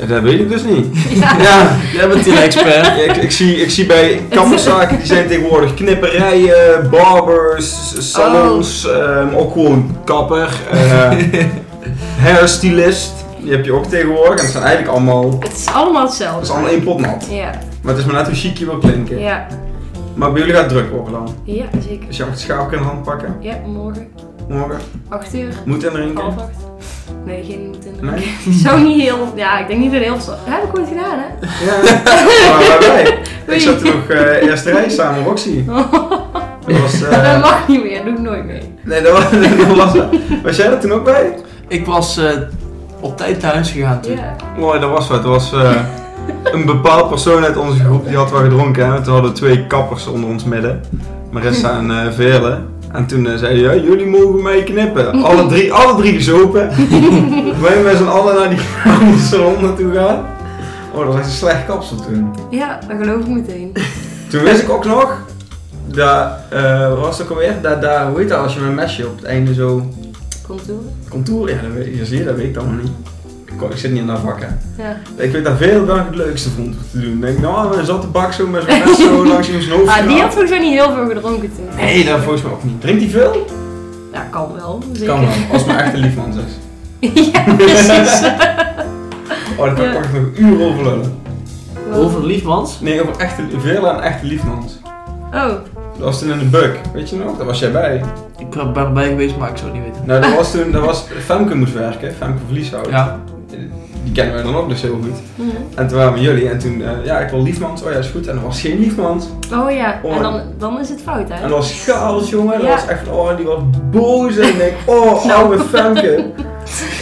Speaker 2: Ja, dat weet ik dus niet.
Speaker 3: Ja.
Speaker 2: Ja,
Speaker 1: Jij bent die expert.
Speaker 2: ik, ik, zie, ik zie bij kapperszaken, die zijn tegenwoordig knipperijen, barbers, salons,
Speaker 3: Oh.
Speaker 2: ehm, ook gewoon kapper, eh hairstylist. Die heb je ook tegenwoordig. En dat zijn eigenlijk allemaal, dat
Speaker 3: Het is allemaal
Speaker 2: is
Speaker 3: hetzelfde.
Speaker 2: allemaal één pot nat.
Speaker 3: Ja,
Speaker 2: Maar het is maar net hoe chic je wil klinken.
Speaker 3: ja,
Speaker 2: Maar bij jullie gaat het druk worden dan.
Speaker 3: ja, zeker.
Speaker 2: Dus je mag het schaap in de hand pakken.
Speaker 3: Ja, morgen.
Speaker 2: Morgen.
Speaker 3: 8 uur,
Speaker 2: Moet in
Speaker 3: half
Speaker 2: drinken.
Speaker 3: acht. Nee, geen moet in de
Speaker 2: Nee?
Speaker 3: Zo niet heel. Ja, ik denk niet een heel. sta- Heb ik ooit gedaan, hè?
Speaker 2: Ja, maar wij. Ik
Speaker 3: Oei.
Speaker 2: zat toen nog eh eerste rij samen met Roxy. Dat was,
Speaker 3: dat
Speaker 2: eh,
Speaker 3: mag niet meer, doe ik nooit meer.
Speaker 2: nee, dat was, dat was Was jij er toen ook bij?
Speaker 1: ik was eh, op tijd naar huis gegaan toen.
Speaker 3: Ja.
Speaker 2: Mooi, dat was wat. Dat was eh, een bepaald persoon uit onze groep die had wel gedronken. Hè? Toen hadden we twee kappers onder ons midden. Marissa en eh Veerle. En toen eh, zeiden ja, jullie mogen mij knippen. Alle drie, alle drie gezopen. Wij met z'n allen naar die salon naartoe gaan. Oh, dat was echt een slecht kapsel toen.
Speaker 3: ja, dat geloof ik meteen.
Speaker 2: Toen wist ik ook nog, dat eh, wat was het ook alweer, dat, dat, hoe heet dat als je met een mesje op het einde zo
Speaker 3: Contour.
Speaker 2: contour, ja, dat weet, ja, zie je, dat weet ik dan nog niet. Ik, kon- ik zit niet in dat vak hè.
Speaker 3: Ja.
Speaker 2: Ik weet dat veel dan ik het leukste vond om te doen. Ik denk, nou, dan zat de bak zo met zo'n mes zo langs in zijn hoofd.
Speaker 3: Ah, die
Speaker 2: gedaan.
Speaker 3: had volgens mij niet heel veel gedronken toen.
Speaker 2: Nee, dat volgens mij ook niet. Drinkt hij veel?
Speaker 3: Ja, kan wel. Zeker.
Speaker 2: Kan wel, als mijn echte liefman is.
Speaker 3: ja, precies.
Speaker 2: Oh, daar kan ik
Speaker 3: Ja.
Speaker 2: echt nog uren over lullen.
Speaker 1: Over liefmans.
Speaker 2: Nee, over echte, veel aan echte liefmans.
Speaker 3: Oh,
Speaker 2: Dat was toen in de buk, weet je nog? Daar was jij bij.
Speaker 1: Ik ben erbij geweest, maar ik zou het niet weten.
Speaker 2: Nou, dat was toen, dat was, Femke moest werken, Femke Verlieshout.
Speaker 1: Ja,
Speaker 2: Die kennen wij dan ook dus heel goed.
Speaker 3: hm.
Speaker 2: En toen waren we jullie en toen, eh, ja, ik wil Liefmans. Oh ja, is goed. En er was geen Liefmans.
Speaker 3: oh ja.
Speaker 2: Oh.
Speaker 3: En dan, dan is het fout,
Speaker 2: En er
Speaker 3: hè?
Speaker 2: was chaos, jongen. Dat
Speaker 3: Ja.
Speaker 2: was echt, oh, die was boos. En ik denk, oh,
Speaker 3: Nou.
Speaker 2: oude Femke. En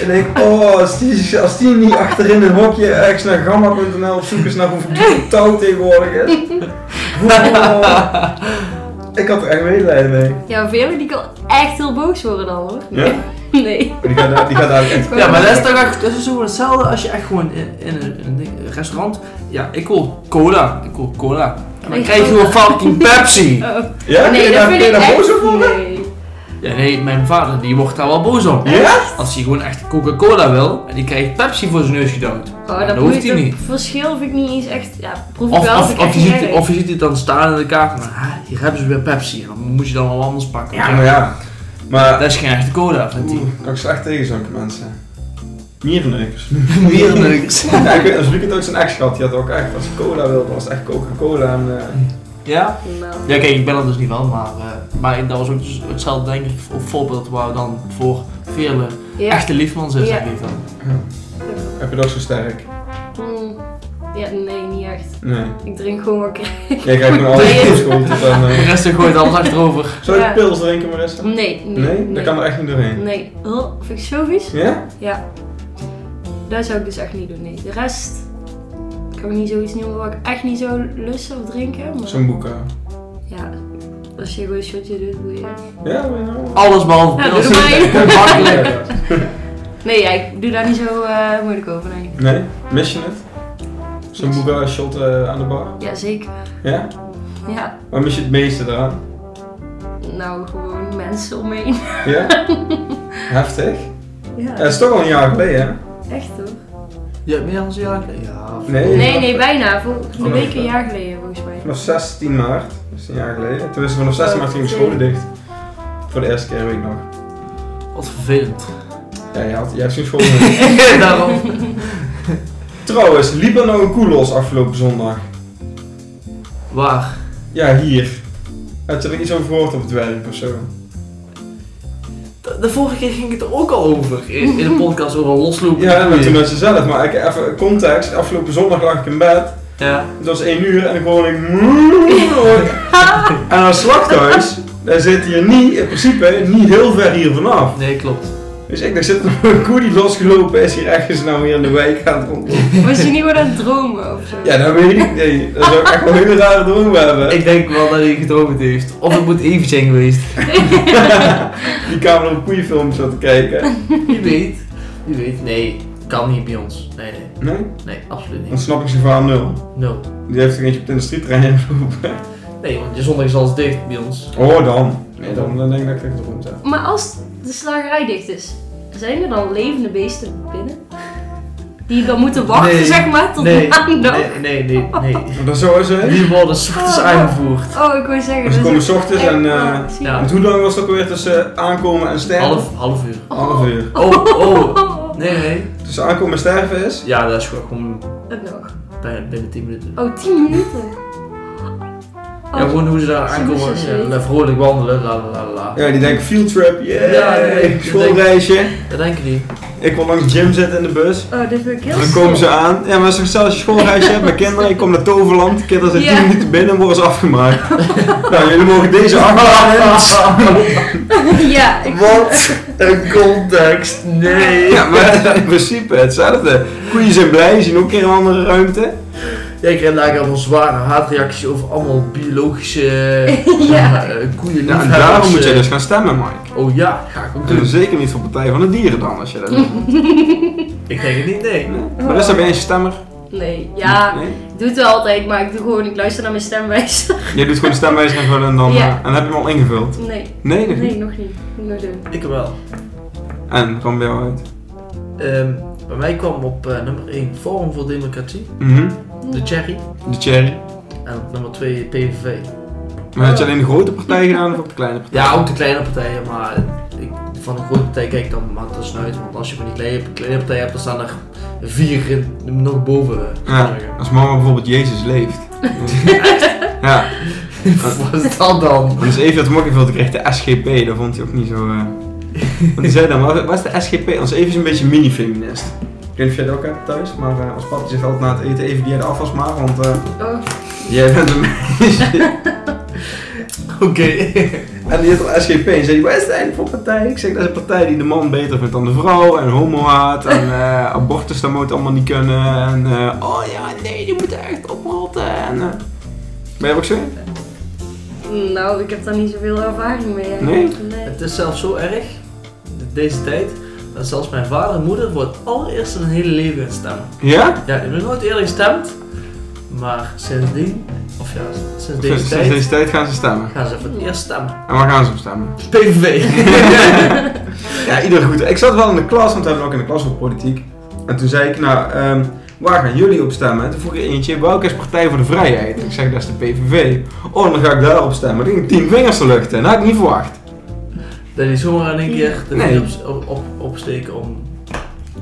Speaker 2: ik denk, oh, als die, als die niet achterin een hokje ergens naar gamma.nl op zoek is naar hoe verdoemd touw tegenwoordig is. Oh. Ik had er echt medelijden mee.
Speaker 3: Ja, Vele die kan echt heel boos worden dan, hoor.
Speaker 2: Ja?
Speaker 3: Nee.
Speaker 2: Die gaat, daar- die gaat daar echt...
Speaker 1: ja maar dat is toch echt, dat is gewoon hetzelfde als je echt gewoon in, in een, in een restaurant... Ja, ik wil cola. Ik wil cola. En dan
Speaker 3: Ik
Speaker 1: krijg je
Speaker 3: wil-
Speaker 1: gewoon fucking Pepsi.
Speaker 3: Oh.
Speaker 2: Ja? kun je
Speaker 3: Nee,
Speaker 2: daar-
Speaker 3: dat
Speaker 2: kun
Speaker 3: vind
Speaker 2: je
Speaker 3: ik
Speaker 2: daar
Speaker 3: echt...
Speaker 2: boos op worden?
Speaker 3: Nee.
Speaker 1: Ja, nee, mijn vader die wordt daar wel boos op.
Speaker 2: Ja?
Speaker 1: Als hij gewoon echt Coca-Cola wil en die krijgt Pepsi voor zijn neus gedouwd.
Speaker 3: Oh,
Speaker 1: dat
Speaker 3: dat
Speaker 1: hoeft
Speaker 3: moet
Speaker 1: hij niet.
Speaker 3: Het verschil vind ik niet eens echt... Ja, proef ik
Speaker 1: Of,
Speaker 3: wel,
Speaker 1: of,
Speaker 3: vind ik
Speaker 1: of,
Speaker 3: echt
Speaker 1: je
Speaker 3: niet
Speaker 1: ziet,
Speaker 3: erg.
Speaker 1: of je ziet het dan staan in de kaart van, ah, hier hebben ze weer Pepsi. Dan moet je dan wel anders pakken.
Speaker 2: Ja, maar ja. Maar
Speaker 1: Dat is geen echte cola, vindt hij.
Speaker 2: Oeh, kan ik slecht tegen zulke mensen. Mierenneukers.
Speaker 1: Mierenneuks.
Speaker 2: ja, ik weet, als Luc het ook zijn ex gehad, die had ook echt, als hij cola wilde, was het echt Coca-Cola en... eh,
Speaker 1: Ja?
Speaker 3: Nou.
Speaker 1: Ja, kijk, ik ben er dus niet van, maar, eh, maar dat was ook dus hetzelfde denk ik, of voorbeeld waar dan voor vele
Speaker 3: Ja.
Speaker 1: echte liefmans is,
Speaker 3: Ja.
Speaker 1: denk ik dan.
Speaker 2: heb je dat zo sterk?
Speaker 3: Hm. Ja, nee, niet echt.
Speaker 2: Nee.
Speaker 3: Ik drink gewoon wat ik
Speaker 2: Jij krijgt me altijd
Speaker 3: Nee.
Speaker 2: pils komt tot aan...
Speaker 1: De
Speaker 2: eh,
Speaker 1: rest gooit alles achterover.
Speaker 2: Zou je
Speaker 3: Ja.
Speaker 2: pils drinken, Marissa?
Speaker 3: Nee, nee,
Speaker 2: Nee? Dat kan er echt niet doorheen.
Speaker 3: Nee. Oh, vind ik zo vies.
Speaker 2: Ja?
Speaker 3: Ja. Dat zou ik dus echt niet doen, nee. De rest ik ook niet zoiets noemen wat ik echt niet zou lusten of drinken. Maar
Speaker 2: Zo'n boek. eh.
Speaker 3: ja, als je gewoon een shotje doet, moet je...
Speaker 2: Ja, nou.
Speaker 1: Alles behalve
Speaker 3: Ja,
Speaker 1: pils.
Speaker 3: doe er maar
Speaker 1: Makkelijk.
Speaker 3: Nee, ja, ik doe daar niet zo eh, moeilijk over, nee.
Speaker 2: Nee, mis je het? Zo'n boek eh, shot eh, aan de bar.
Speaker 3: Ja, zeker.
Speaker 2: Ja?
Speaker 3: Ja,
Speaker 2: Waar mis je het meeste eraan?
Speaker 3: nou gewoon mensen omheen.
Speaker 2: Ja? Heftig.
Speaker 3: Ja,
Speaker 2: Ja, dat is toch al een jaar geleden, hè?
Speaker 3: echt toch?
Speaker 1: Je hebt meer dan een jaar geleden? Ja. of-
Speaker 2: Nee.
Speaker 3: Nee, nee, bijna. Vol- een
Speaker 2: Oh,
Speaker 3: week, een
Speaker 2: ja.
Speaker 3: jaar geleden volgens mij.
Speaker 2: Vanaf 16 maart, dat is een jaar geleden. Toen is vanaf 16 maart ging de scholen dicht. Voor de eerste keer weet ik nog.
Speaker 1: Wat vervelend.
Speaker 2: Ja, jij, had, jij hebt geen school meer.
Speaker 1: Daarom.
Speaker 2: Trouwens, liep er nou een koelos afgelopen zondag?
Speaker 1: Waar?
Speaker 2: Ja, hier. Heb je er iets over gehoord op het werk of zo?
Speaker 1: De, de vorige keer ging het er ook al over. In, in de podcast over loslopen.
Speaker 2: Ja, maar toen had je zelf. Maar ik, even context. Afgelopen zondag lag ik in bed.
Speaker 1: Ja.
Speaker 2: Het was 1 uur en ik hoorde ik... En een slachthuis, daar zit hier niet, in principe, niet heel ver hier vanaf.
Speaker 1: Nee, klopt.
Speaker 2: Dus ik dacht, zit er een koe die losgelopen is hier ergens nou weer in de wijk aan het rondlopen.
Speaker 3: Was je niet meer aan het dromen of zo?
Speaker 2: Ja, dat weet ik niet. Dat zou ik echt wel hele rare droom hebben.
Speaker 1: Ik denk wel dat hij gedroomd heeft. Of het moet even zijn geweest.
Speaker 2: Die kamer op koeienfilms zat te kijken.
Speaker 1: Wie weet. Wie weet. Nee, kan niet bij ons. Nee, nee.
Speaker 2: Nee?
Speaker 1: Nee, absoluut
Speaker 2: Dan
Speaker 1: niet.
Speaker 2: snap ik ze verhaal nul.
Speaker 1: Nul.
Speaker 2: Die heeft er eentje op de industrietrein geroepen.
Speaker 1: Nee, want je zondag is alles dicht bij ons.
Speaker 2: Oh, dan. Nee, dan, dan denk ik dat ik het gedroomd heb.
Speaker 3: Maar als de slagerij dicht is, zijn er dan levende beesten binnen? Die dan moeten wachten,
Speaker 1: Nee.
Speaker 3: zeg maar, tot
Speaker 1: Nee,
Speaker 3: maandag?
Speaker 1: nee, nee, nee. nee.
Speaker 2: Maar dan zo is het.
Speaker 1: Die worden s ochtends aangevoerd.
Speaker 3: Oh, ik wil zeggen...
Speaker 2: Dus ze
Speaker 3: dat
Speaker 2: komen
Speaker 3: is
Speaker 2: s ochtends
Speaker 3: echt
Speaker 2: en... eh,
Speaker 3: wel ziek.
Speaker 1: ja.
Speaker 2: want hoe lang was het ook alweer tussen eh, aankomen en sterven?
Speaker 1: Half, half uur.
Speaker 2: Half uur.
Speaker 1: Oh, oh. Nee, nee.
Speaker 2: Tussen aankomen en sterven is?
Speaker 1: Ja, dat is gewoon
Speaker 3: Ook oh, nog.
Speaker 1: bij- binnen 10 minuten.
Speaker 3: Oh, 10 minuten. Oh,
Speaker 1: Ja, gewoon hoe ze daar
Speaker 3: Ze
Speaker 1: aankomen.
Speaker 3: moesten
Speaker 1: Ja,
Speaker 3: weten.
Speaker 1: vrolijk wandelen, la la la la.
Speaker 2: Ja, die denken field trip, yeah,
Speaker 1: Ja, nee, ik
Speaker 2: schoolreisje.
Speaker 1: Dat denken die.
Speaker 2: Ik wil langs Jim zitten in de bus.
Speaker 3: oh dit vind ik heel
Speaker 2: Dan komen ze
Speaker 3: stom.
Speaker 2: aan. Ja, maar zelfs als je schoolreisje hebt met kinderen, je komt naar Toverland, de kinderen zijn 10
Speaker 3: Ja.
Speaker 2: minuten binnen en worden ze afgemaakt. nou, jullie mogen deze afhalen.
Speaker 3: ja, ik...
Speaker 2: Ah, Wat een context.
Speaker 1: Nee.
Speaker 2: Ja, maar het is in principe hetzelfde. Koeien zijn blij, zien ook in een andere ruimte.
Speaker 1: Ja, ik kreeg eigenlijk al een zware haatreactie over allemaal biologische
Speaker 3: Ja.
Speaker 1: eh, koeien.
Speaker 2: Ja, en
Speaker 1: liefhebbers,
Speaker 2: daarom moet je
Speaker 1: eh.
Speaker 2: dus gaan stemmen, Mike.
Speaker 1: Oh ja, ga ik ook
Speaker 2: En
Speaker 1: doen.
Speaker 2: zeker niet voor Partij van de Dieren dan, als je dat doet.
Speaker 1: Ik denk het niet, nee.
Speaker 2: Nee. Maar dus heb je een stemmer?
Speaker 3: Nee, ja,
Speaker 2: Nee?
Speaker 3: ik doe het wel altijd, maar ik doe gewoon, ik luister naar mijn stemwijzer.
Speaker 2: Jij doet gewoon de stemwijzer invullen en dan,
Speaker 3: Ja.
Speaker 2: eh, en heb je hem al ingevuld.
Speaker 3: Nee,
Speaker 2: Nee, nog
Speaker 3: nee,
Speaker 2: niet.
Speaker 3: nog niet. Moet ik nog doen.
Speaker 1: Ik wel.
Speaker 2: En, kwam bij jou uit.
Speaker 1: Ehm, bij mij kwam op eh, nummer 1 Forum voor Democratie,
Speaker 2: Mhm.
Speaker 1: de Cherry.
Speaker 2: De cherry.
Speaker 1: En op nummer 2 PVV.
Speaker 2: Maar had je
Speaker 3: Oh.
Speaker 2: alleen de grote partij gedaan of ook de kleine partij?
Speaker 1: Ja, ook de kleine partijen, maar ik, van een grote partij kijk dan maakt dat snuit. Want als je van die kleine, kleine partij hebt, dan staan er vier in, nog boven. eh,
Speaker 2: Ja, als mama bijvoorbeeld Jezus leeft. ja,
Speaker 1: Wat is dat dan?
Speaker 2: want dus even dat hem ook invulde kreeg de SGP, dat vond hij ook niet zo... eh. Want die zei dan, wat wat is de SGP? Ons even is een beetje mini-feminist. Ik weet niet of jij dat ook hebt thuis, maar eh, als papa zegt altijd na het eten even die jij de afwas maakt, want eh,
Speaker 3: Oh,
Speaker 2: jij bent een meisje.
Speaker 1: Oké.
Speaker 2: en die heeft al SGP en zei, wat is het eigenlijk voor partij? Ik zeg, dat is een partij die de man beter vindt dan de vrouw en homo haat en eh, abortus, dat moet allemaal niet kunnen. En eh, oh ja, nee, die moeten echt oprotten. En, eh, ben je ook zo? in?
Speaker 3: nou, ik heb daar niet zoveel ervaring mee.
Speaker 2: Nee?
Speaker 3: nee.
Speaker 1: Het is zelfs zo erg, in deze tijd, dat zelfs mijn vader en moeder voor het allereerst in hun hele leven gaan stemmen.
Speaker 2: Ja?
Speaker 1: Ja, ik heb nog nooit eerder gestemd, maar sindsdien, of ja, sinds deze
Speaker 2: Sinds
Speaker 1: tijd,
Speaker 2: dus deze tijd gaan ze stemmen.
Speaker 1: gaan ze voor het eerst stemmen.
Speaker 2: En waar gaan ze op stemmen?
Speaker 1: PVV.
Speaker 2: ja, ieder goed. Ik zat wel in de klas, want we hebben ook in de klas op politiek. En toen zei ik, nou, ehm, waar gaan jullie op stemmen? En toen vroeg er eentje, welke is Partij voor de Vrijheid? Ik zeg, dat is de PVV. Oh, dan ga ik daarop stemmen. Dan ging tien vingers de lucht in. Dat had ik niet verwacht.
Speaker 1: Dat die zomaar in één keer de
Speaker 2: Nee.
Speaker 1: vinger op, op- opsteken om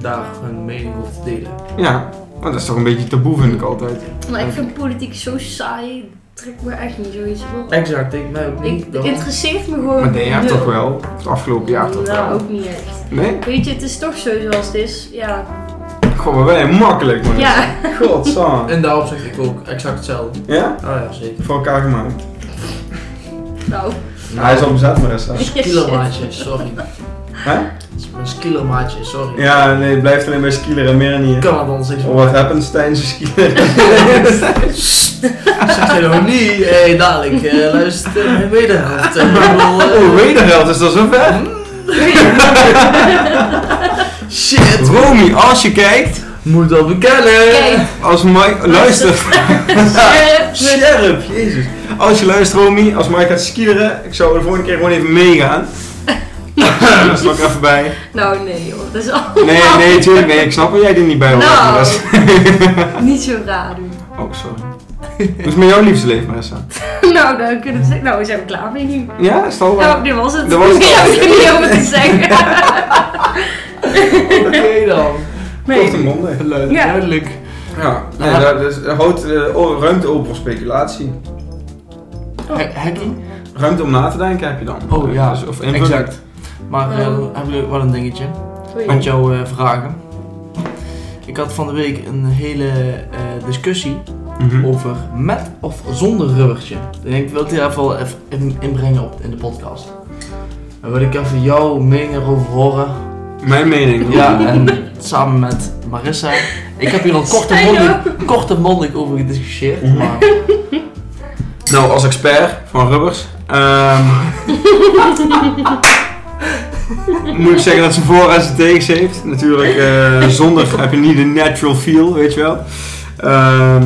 Speaker 1: daar hun mening over te delen.
Speaker 2: Ja, maar dat is toch een beetje taboe, vind ik altijd.
Speaker 3: Maar ik vind politiek zo saai, het trekt me echt niet zoiets voor.
Speaker 1: Exact, ik mij ook niet.
Speaker 3: Ik, het
Speaker 1: daarom.
Speaker 3: interesseert me gewoon.
Speaker 2: Maar nee, je hebt
Speaker 3: nul.
Speaker 2: toch wel. Het afgelopen jaar toch
Speaker 3: Nou,
Speaker 2: wel.
Speaker 3: ook niet echt.
Speaker 2: Nee?
Speaker 3: Weet je, het is toch zo zoals het is. Ja.
Speaker 2: Goh, maar wij makkelijk, man.
Speaker 3: Ja.
Speaker 2: Godzang.
Speaker 1: In dat opzicht ik ook exact hetzelfde.
Speaker 2: Ja?
Speaker 1: Ah ja, zeker.
Speaker 2: Voor elkaar gemaakt.
Speaker 3: Nou,
Speaker 2: Nou, hij is al bezet met restaurant.
Speaker 1: Mijn kilomaatje, sorry.
Speaker 2: Hè?
Speaker 1: Mijn kilomaatje, sorry.
Speaker 2: Ja, nee, het blijft alleen bij skieler en meer
Speaker 1: Ik
Speaker 2: niet.
Speaker 1: kan het anders niet.
Speaker 2: Oh, what happens tijdens skieler?
Speaker 1: Zeg je nog niet, hé, dadelijk, eh, luister, eh, mijn wederhelft. eh, ik bedoel, eh,
Speaker 2: Oh, wederheld, is dat zo ver?
Speaker 1: Shit,
Speaker 2: Romy, als je kijkt,
Speaker 1: moet dat bekennen.
Speaker 3: Kijk,
Speaker 2: als Mike... Luister.
Speaker 3: Sheriff.
Speaker 2: Scherp, jezus. Als je luistert, Romy, als Mike gaat skileren, ik zou de volgende keer gewoon even meegaan. Dat is nog even bij.
Speaker 3: Nou nee joh, dat is al
Speaker 2: Nee, nee, tuurlijk, nee, ik snap waar jij er niet bij hoort.
Speaker 3: Nou.
Speaker 2: Marissa.
Speaker 3: niet zo raar doen.
Speaker 2: Oh, sorry. Hoe is het met jouw liefdesleven, Marissa?
Speaker 3: Nou, dan kunnen we zeggen, nou we zijn we klaar mee nu.
Speaker 2: Ja, is het al
Speaker 3: Nou, dit was het.
Speaker 2: Dat was het.
Speaker 3: Ik heb er niet over te zeggen.
Speaker 1: Oké dan.
Speaker 2: Kort en mondig.
Speaker 1: Leuk,
Speaker 3: Nou, Ja.
Speaker 1: duidelijk.
Speaker 2: Ja, nee, dat, is- dat houdt eh, o- ruimte open voor speculatie.
Speaker 3: Oh.
Speaker 1: He- Hacking?
Speaker 2: Ruimte om na te denken heb je dan.
Speaker 1: Oh ja,
Speaker 2: Dus- of invulling.
Speaker 1: exact. Maar eh,
Speaker 3: Ehm.
Speaker 1: hebben jullie wel een dingetje
Speaker 3: Sorry.
Speaker 2: Oh.
Speaker 1: met jouw eh, vragen? Ik had van de week een hele eh, discussie
Speaker 2: Mhm.
Speaker 1: over met of zonder rubbertje. En ik wil het hier even, wel even in- inbrengen op, in de podcast. En wil ik even jouw mening erover horen.
Speaker 2: Mijn mening.
Speaker 1: Ja, en samen met Marissa. Ik heb hier al kort en mondig, kort en mondig over gediscussieerd.
Speaker 2: Mhm.
Speaker 1: Maar
Speaker 2: Nou, als expert van rubbers. ehm, moet ik zeggen dat ze voor- en ze tegens heeft. Natuurlijk, eh, zonder heb je niet de natural feel, weet je wel. Ehm,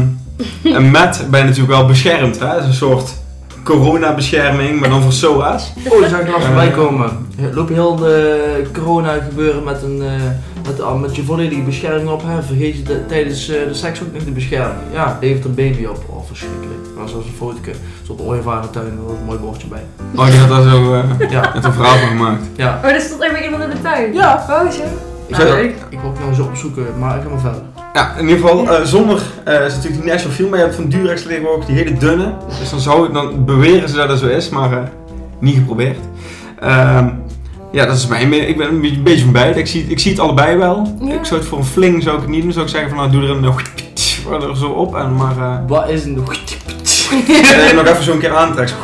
Speaker 2: en met ben je natuurlijk wel beschermd. Hè? Dat is een soort coronabescherming, maar dan voor SOA's.
Speaker 1: Oh, zou ik er nog
Speaker 2: Eh.
Speaker 1: voorbij komen? Loop je heel de corona gebeuren met, een, eh, met, ah, met je volledige bescherming op? Hè? Vergeet je de- tijdens eh, de seks ook nog de bescherming? Ja, levert een baby op. Oh, verschrikkelijk. Maar zoals een foto. Zo'n ooievaar in de tuin, daar was een mooi bordje bij.
Speaker 2: Oh, die had daar zo eh,
Speaker 1: Ja,
Speaker 2: net een verhaal van gemaakt.
Speaker 1: ja.
Speaker 3: Oh, er stond even iemand in de tuin.
Speaker 1: Ja.
Speaker 3: Oh, zo.
Speaker 1: Ik,
Speaker 2: Zou-
Speaker 1: ik, ik wil het nou zo opzoeken, maar ik ga maar verder.
Speaker 2: Ja, in ieder geval, eh, zonder eh, is natuurlijk die natural feel, maar je hebt van Durex liggen ook die hele dunne. Dus dan, zou, dan beweren ze dat dat zo is, maar eh, niet geprobeerd. Ehm, ja, dat is mijn mening. Ik ben een beetje, een beetje van beide. Ik zie, ik zie het allebei wel.
Speaker 3: Ja.
Speaker 2: Ik zou het voor een fling zou ik het niet doen. Zou ik zeggen van nou doe er een eh, er zo op en maar eh,
Speaker 1: Wat is een
Speaker 2: dat je nog even zo'n keer aantrekt.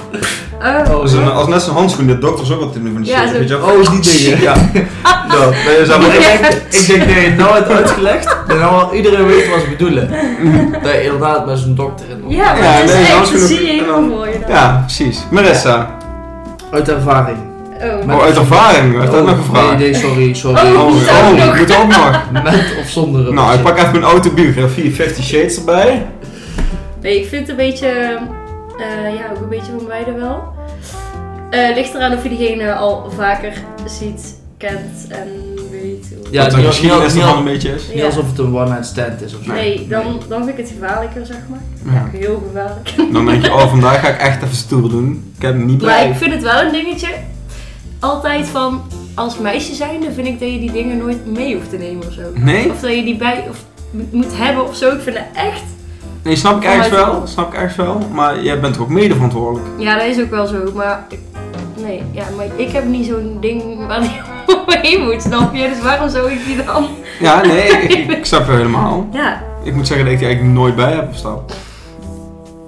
Speaker 3: Oh.
Speaker 1: Oh,
Speaker 2: Als, een, als net zo'n handschoen, de dokters ook wat te doen van die
Speaker 3: Ja,
Speaker 2: shit.
Speaker 3: zo-
Speaker 2: weet je wel.
Speaker 1: Oh, die dingen.
Speaker 2: Ja, dat. Nee, dat zou
Speaker 1: Maar ik
Speaker 2: ik-
Speaker 1: denk, ik denk dat je het nou hebt uitgelegd, dat nou al iedereen weet wat ze bedoelen. Dat je inderdaad met zo'n dokter en
Speaker 3: Ja, maar
Speaker 2: Ja,
Speaker 3: dat is
Speaker 2: nee,
Speaker 3: echt,
Speaker 2: als je
Speaker 3: dat
Speaker 2: nog-
Speaker 3: zie je helemaal mooi. dan.
Speaker 2: Ja, precies. Marissa,
Speaker 1: Uit ervaring.
Speaker 3: Oh.
Speaker 1: Maar-
Speaker 2: oh, uit ervaring, werd dat
Speaker 1: Oh,
Speaker 2: nog gevraagd?
Speaker 1: Nee, nee, sorry, sorry.
Speaker 2: Oh,
Speaker 3: Oh,
Speaker 2: oh,
Speaker 3: zo nog.
Speaker 2: moet ook nog.
Speaker 1: Met of zonder een
Speaker 2: Nou, ik
Speaker 1: rubbertje.
Speaker 2: pak even mijn autobiografie, 50 Shades erbij.
Speaker 3: Nee, ik vind het een beetje, eh, ja, ook een beetje van beide wel. Eh ligt eraan of je diegene al vaker ziet, kent en weet. Hoe...
Speaker 1: Ja,
Speaker 2: dat
Speaker 1: Niel-
Speaker 2: er misschien
Speaker 1: Niel-
Speaker 2: best nog wel
Speaker 1: Niel-
Speaker 2: een beetje is.
Speaker 1: Niet alsof het een one-night stand is of zo.
Speaker 3: Nee, dan, dan vind ik het gevaarlijker, zeg maar.
Speaker 2: Ja.
Speaker 3: Heel gevaarlijk.
Speaker 2: Dan denk je, oh vandaag ga ik echt even stoer doen. Ik heb hem niet
Speaker 3: Maar ik
Speaker 2: bij.
Speaker 3: vind het wel een dingetje. Altijd van, als meisje zijnde vind ik dat je die dingen nooit mee hoeft te nemen of zo.
Speaker 2: Nee?
Speaker 3: Of dat je die bij of moet hebben of zo. Ik vind het echt.
Speaker 2: Nee, snap ik
Speaker 3: Vanuit
Speaker 2: ergens
Speaker 3: de
Speaker 2: wel.
Speaker 3: kant.
Speaker 2: Snap ik ergens wel. Maar jij bent toch ook mede verantwoordelijk.
Speaker 3: Ja, dat is ook wel zo. Maar ik- nee, ja, maar ik heb niet zo'n ding waar die omheen moet, snap je? Dus waarom zou ik die dan?
Speaker 2: Ja, nee, ik, ik, ik snap je helemaal.
Speaker 3: Ja,
Speaker 2: Ik moet zeggen dat ik die eigenlijk nooit bij heb op stap.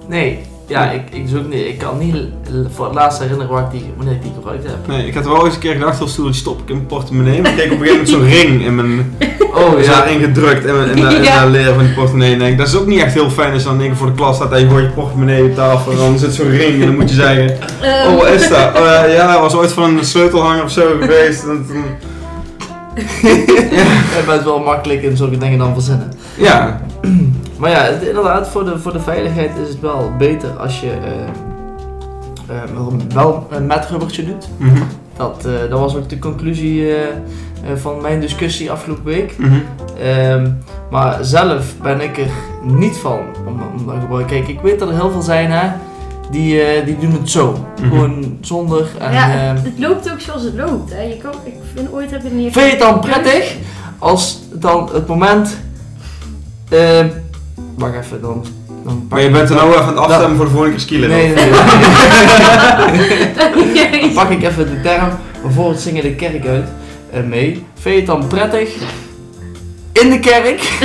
Speaker 1: Nee, ja, ik, ik, zoek niet, ik kan niet l- voor het laatst herinneren waar ik die, wanneer ik die gebruikt heb.
Speaker 2: Nee, ik had wel eens een keer gedacht, heel stoer, die stop ik in mijn portemonnee. Maar ik kreeg op een gegeven moment zo'n ring in mijn...
Speaker 1: Oh
Speaker 2: Dus
Speaker 1: ja,
Speaker 2: daarin gedrukt en, en, en,
Speaker 3: Ja.
Speaker 2: leren van die portemonnee. Denk. ik, Dat is ook niet echt heel fijn als je dan denk ik voor de klas staat en je gooit je portemonnee op tafel. En dan zit zo'n ring en dan moet je zeggen...
Speaker 3: ehm,
Speaker 2: Oh, wat is dat? Eh, ja, was ooit van een sleutelhanger of zo geweest. En toen-
Speaker 1: je bent wel makkelijk in zulke dingen dan verzinnen.
Speaker 2: ja,
Speaker 1: Maar ja, het- inderdaad, voor de, voor de veiligheid is het wel beter als je eh, eh, wel, wel een met rubbertje doet.
Speaker 2: Mhm,
Speaker 1: Dat, eh, dat was ook de conclusie eh, eh, van mijn discussie afgelopen week.
Speaker 2: mhm.
Speaker 1: Ehm, maar zelf ben ik er niet van om, om dat gebruik. Kijk, ik weet dat er heel veel zijn hè, die, eh, die doen het zo.
Speaker 2: Mhm.
Speaker 1: Gewoon zonder. En,
Speaker 3: ja,
Speaker 1: ehm,
Speaker 3: het loopt ook zoals het loopt. Hè. Je kan, ik vind ooit heb je niet.
Speaker 1: vind je het dan prettig als dan het moment. ehm wacht even, dan. dan pak
Speaker 2: Maar je
Speaker 1: ik-
Speaker 2: bent er nou even aan het afstemmen voor de volgende keer skileren.
Speaker 1: Nee, nee, nee. Dan
Speaker 3: Jezus.
Speaker 1: pak ik even de term voor het zingen de kerk uit eh, mee. Vind je het dan prettig in de kerk?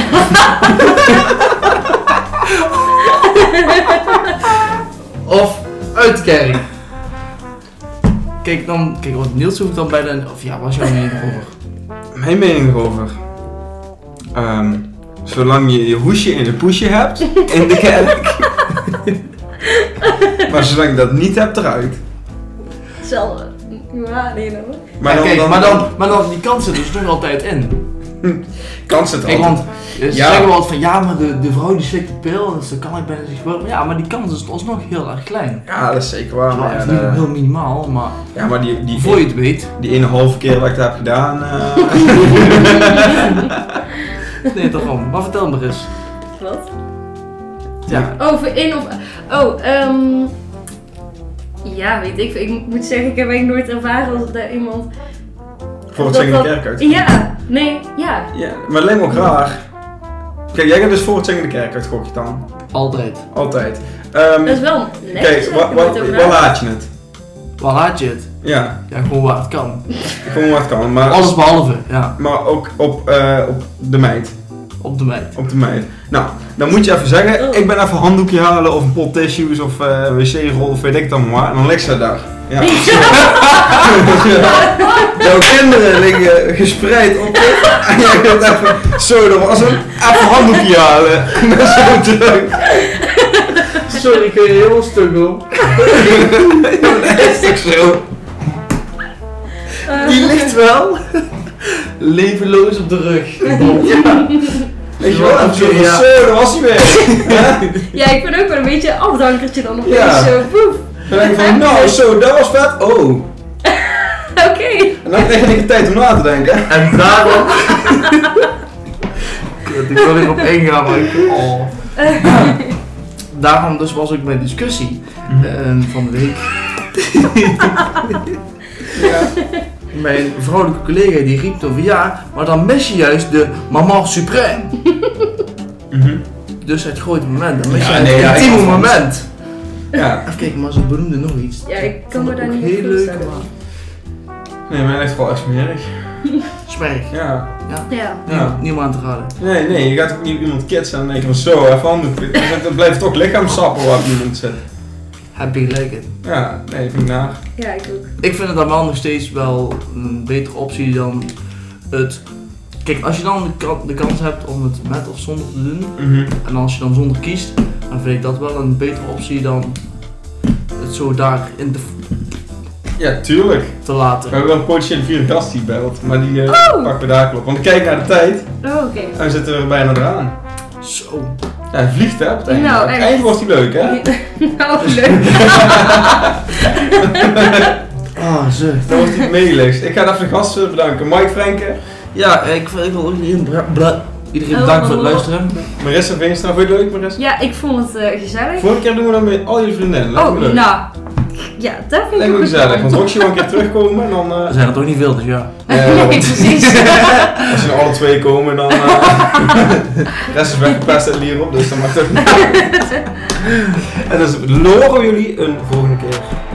Speaker 1: of uit de kerk? Kijk, dan, kijk, want Niels hoeft dan bij de... Of ja, was jouw mening over?
Speaker 2: Mijn mening erover. Ehm, zolang je je hoesje en je poesje hebt in de kerk. maar zolang je dat niet hebt, eruit.
Speaker 3: Zal. Ja, nee, nou.
Speaker 1: Maar, dan, kijk, maar, dan, maar dan, die kans zit dus nog altijd in.
Speaker 2: kan ze het
Speaker 1: Kijk,
Speaker 2: altijd.
Speaker 1: want ze
Speaker 2: Ja.
Speaker 1: zeggen wel van, ja, maar de, de vrouw die slikt de pil, dus dan kan ik bijna niet gebeuren. Maar Ja, maar die kans is alsnog heel erg klein.
Speaker 2: Ja, dat is zeker waar.
Speaker 1: Ja, eh,
Speaker 2: Maar,
Speaker 1: het
Speaker 2: ja,
Speaker 1: is niet
Speaker 2: de-
Speaker 1: heel minimaal, maar
Speaker 2: ja, maar die, die,
Speaker 1: voor je het weet.
Speaker 2: die ene halve keer dat ik dat heb gedaan. eh,
Speaker 1: Nee, daarom. Maar vertel maar eens.
Speaker 3: Wat?
Speaker 1: Ja.
Speaker 3: Oh, voor in of. Oh, ehm. Ja, weet ik. veel. Ik moet zeggen, ik heb eigenlijk nooit ervaren als daar iemand.
Speaker 2: voor het
Speaker 3: dat
Speaker 2: zingen de
Speaker 3: dat-
Speaker 2: kerk uit.
Speaker 3: Ja, nee, ja.
Speaker 2: Ja, maar het lijkt me ook raar. Kijk, jij gaat dus voor het zingen de kerk uit, gok je dan.
Speaker 1: Altijd.
Speaker 2: Altijd. Ehm,
Speaker 3: Dat is wel netjes.
Speaker 2: kijk, wa-
Speaker 3: Kijk,
Speaker 2: wa- waar laat je het?
Speaker 1: Waar laat je het?
Speaker 2: Ja,
Speaker 1: Ja, gewoon waar het kan.
Speaker 2: gewoon wat kan. Maar,
Speaker 1: Alles behalve, ja.
Speaker 2: maar ook op, eh, op de meid.
Speaker 1: Op de meid.
Speaker 2: Op de meid. Nou, dan moet je even zeggen,
Speaker 3: Oh.
Speaker 2: ik ben even een handdoekje halen of een pot tissues of eh, wc-rol of weet ik dan maar. En dan ligt ze daar. Ja. Ja. Jouw kinderen liggen gespreid op de... En jij gaat even, zo, dat was hem. Even een handdoekje halen. En dan zo terug.
Speaker 1: Sorry, ik je heel stuk hoor.
Speaker 2: Ja, maar dat is toch zo?
Speaker 3: Eh,
Speaker 1: Die ligt wel levenloos op de rug.
Speaker 2: Weet je wel, en zo,
Speaker 1: Ja.
Speaker 2: zo, dat was hij weer.
Speaker 3: ja, ik ben ook wel een beetje een afdankertje dan nog
Speaker 2: Ja.
Speaker 3: eens eh, zo. Poef.
Speaker 2: Dan denk ik van, nou, zo, dat was vet. Oh.
Speaker 3: Oké.
Speaker 2: En dan krijg je niet de tijd om na te denken.
Speaker 1: En daarom. Kut, ik wil erop ingaan, maar ik. Oh. Daarom dus was ook mijn discussie eh, van de week.
Speaker 2: Ja.
Speaker 1: Mijn vrouwelijke collega die riep over ja, maar dan mis je juist de maman suprême.
Speaker 2: Mhm.
Speaker 1: Dus het grote moment, dan mis je
Speaker 2: Ja,
Speaker 1: het
Speaker 2: nee, ja, ik
Speaker 1: intieme
Speaker 2: vond-
Speaker 1: moment.
Speaker 2: ja.
Speaker 1: Even kijken, maar ze benoemde nog iets.
Speaker 3: Ja, ik kan
Speaker 1: vond
Speaker 3: me
Speaker 1: het
Speaker 3: daar
Speaker 1: ook
Speaker 3: niet
Speaker 1: heel
Speaker 3: op
Speaker 1: leuk,
Speaker 3: voorstellen.
Speaker 1: maar
Speaker 2: Nee, mijn ligt wel echt smerig.
Speaker 1: smerig.
Speaker 2: Ja.
Speaker 3: Ja.
Speaker 2: Ja.
Speaker 1: Ja. Niemand aan te raden.
Speaker 2: Nee, nee, je gaat ook niet op iemand kitsen en dan denk je van zo, even handdoek. Dan blijft toch lichaamsappen waar iemand zit.
Speaker 1: Heb je gelijk in.
Speaker 2: Ja, nee, vind ik naar.
Speaker 3: ja, ik ook.
Speaker 1: Ik vind het dan wel nog steeds wel een betere optie dan het. Kijk, als je dan de, kan- de kans hebt om het met of zonder te doen,
Speaker 2: Mhm.
Speaker 1: en als je dan zonder kiest, dan vind ik dat wel een betere optie dan het zo daarin te,
Speaker 2: Ja, tuurlijk.
Speaker 1: te
Speaker 2: We
Speaker 1: laten.
Speaker 2: hebben wel een potentiële vierde gast die belt, maar die eh, pakken we daar klop. Want ik kijk naar de tijd
Speaker 3: Oh, oké.
Speaker 2: en we zitten er bijna eraan.
Speaker 1: Zo.
Speaker 2: Ja, hij vliegt hè, op het einde.
Speaker 3: Nou,
Speaker 2: Op het
Speaker 3: echt.
Speaker 2: einde wordt hij leuk hè.
Speaker 3: nou, leuk.
Speaker 1: Ah, zo.
Speaker 2: Dan wordt hij meegelicht. Ik ga even de gasten bedanken. Mike Frenke,
Speaker 1: Ja, ik, wil- ik wil iedereen, bra- bla-
Speaker 3: Oh,
Speaker 1: iedereen bedanken voor het luisteren.
Speaker 2: Marissa Veenstra. Vond je het nou leuk Marissa?
Speaker 3: Ja, ik vond het eh, gezellig.
Speaker 2: Vorige keer doen we dat met al je vriendinnen. Lijkt me
Speaker 3: Oh,
Speaker 2: leuk.
Speaker 3: nou. Ja, dat vind ik
Speaker 2: Lijkt me
Speaker 3: een goed
Speaker 2: gezellig.
Speaker 3: plan.
Speaker 2: Want Roxy wil een keer terugkomen en dan... eh,
Speaker 1: Er zijn er toch niet veel, dus ja.
Speaker 2: eh,
Speaker 3: Nee, precies.
Speaker 2: Als ze alle twee komen, dan. eh de rest is weggepest en lierop, dus dan mag het ook niet. En dan dus loren we jullie een volgende keer.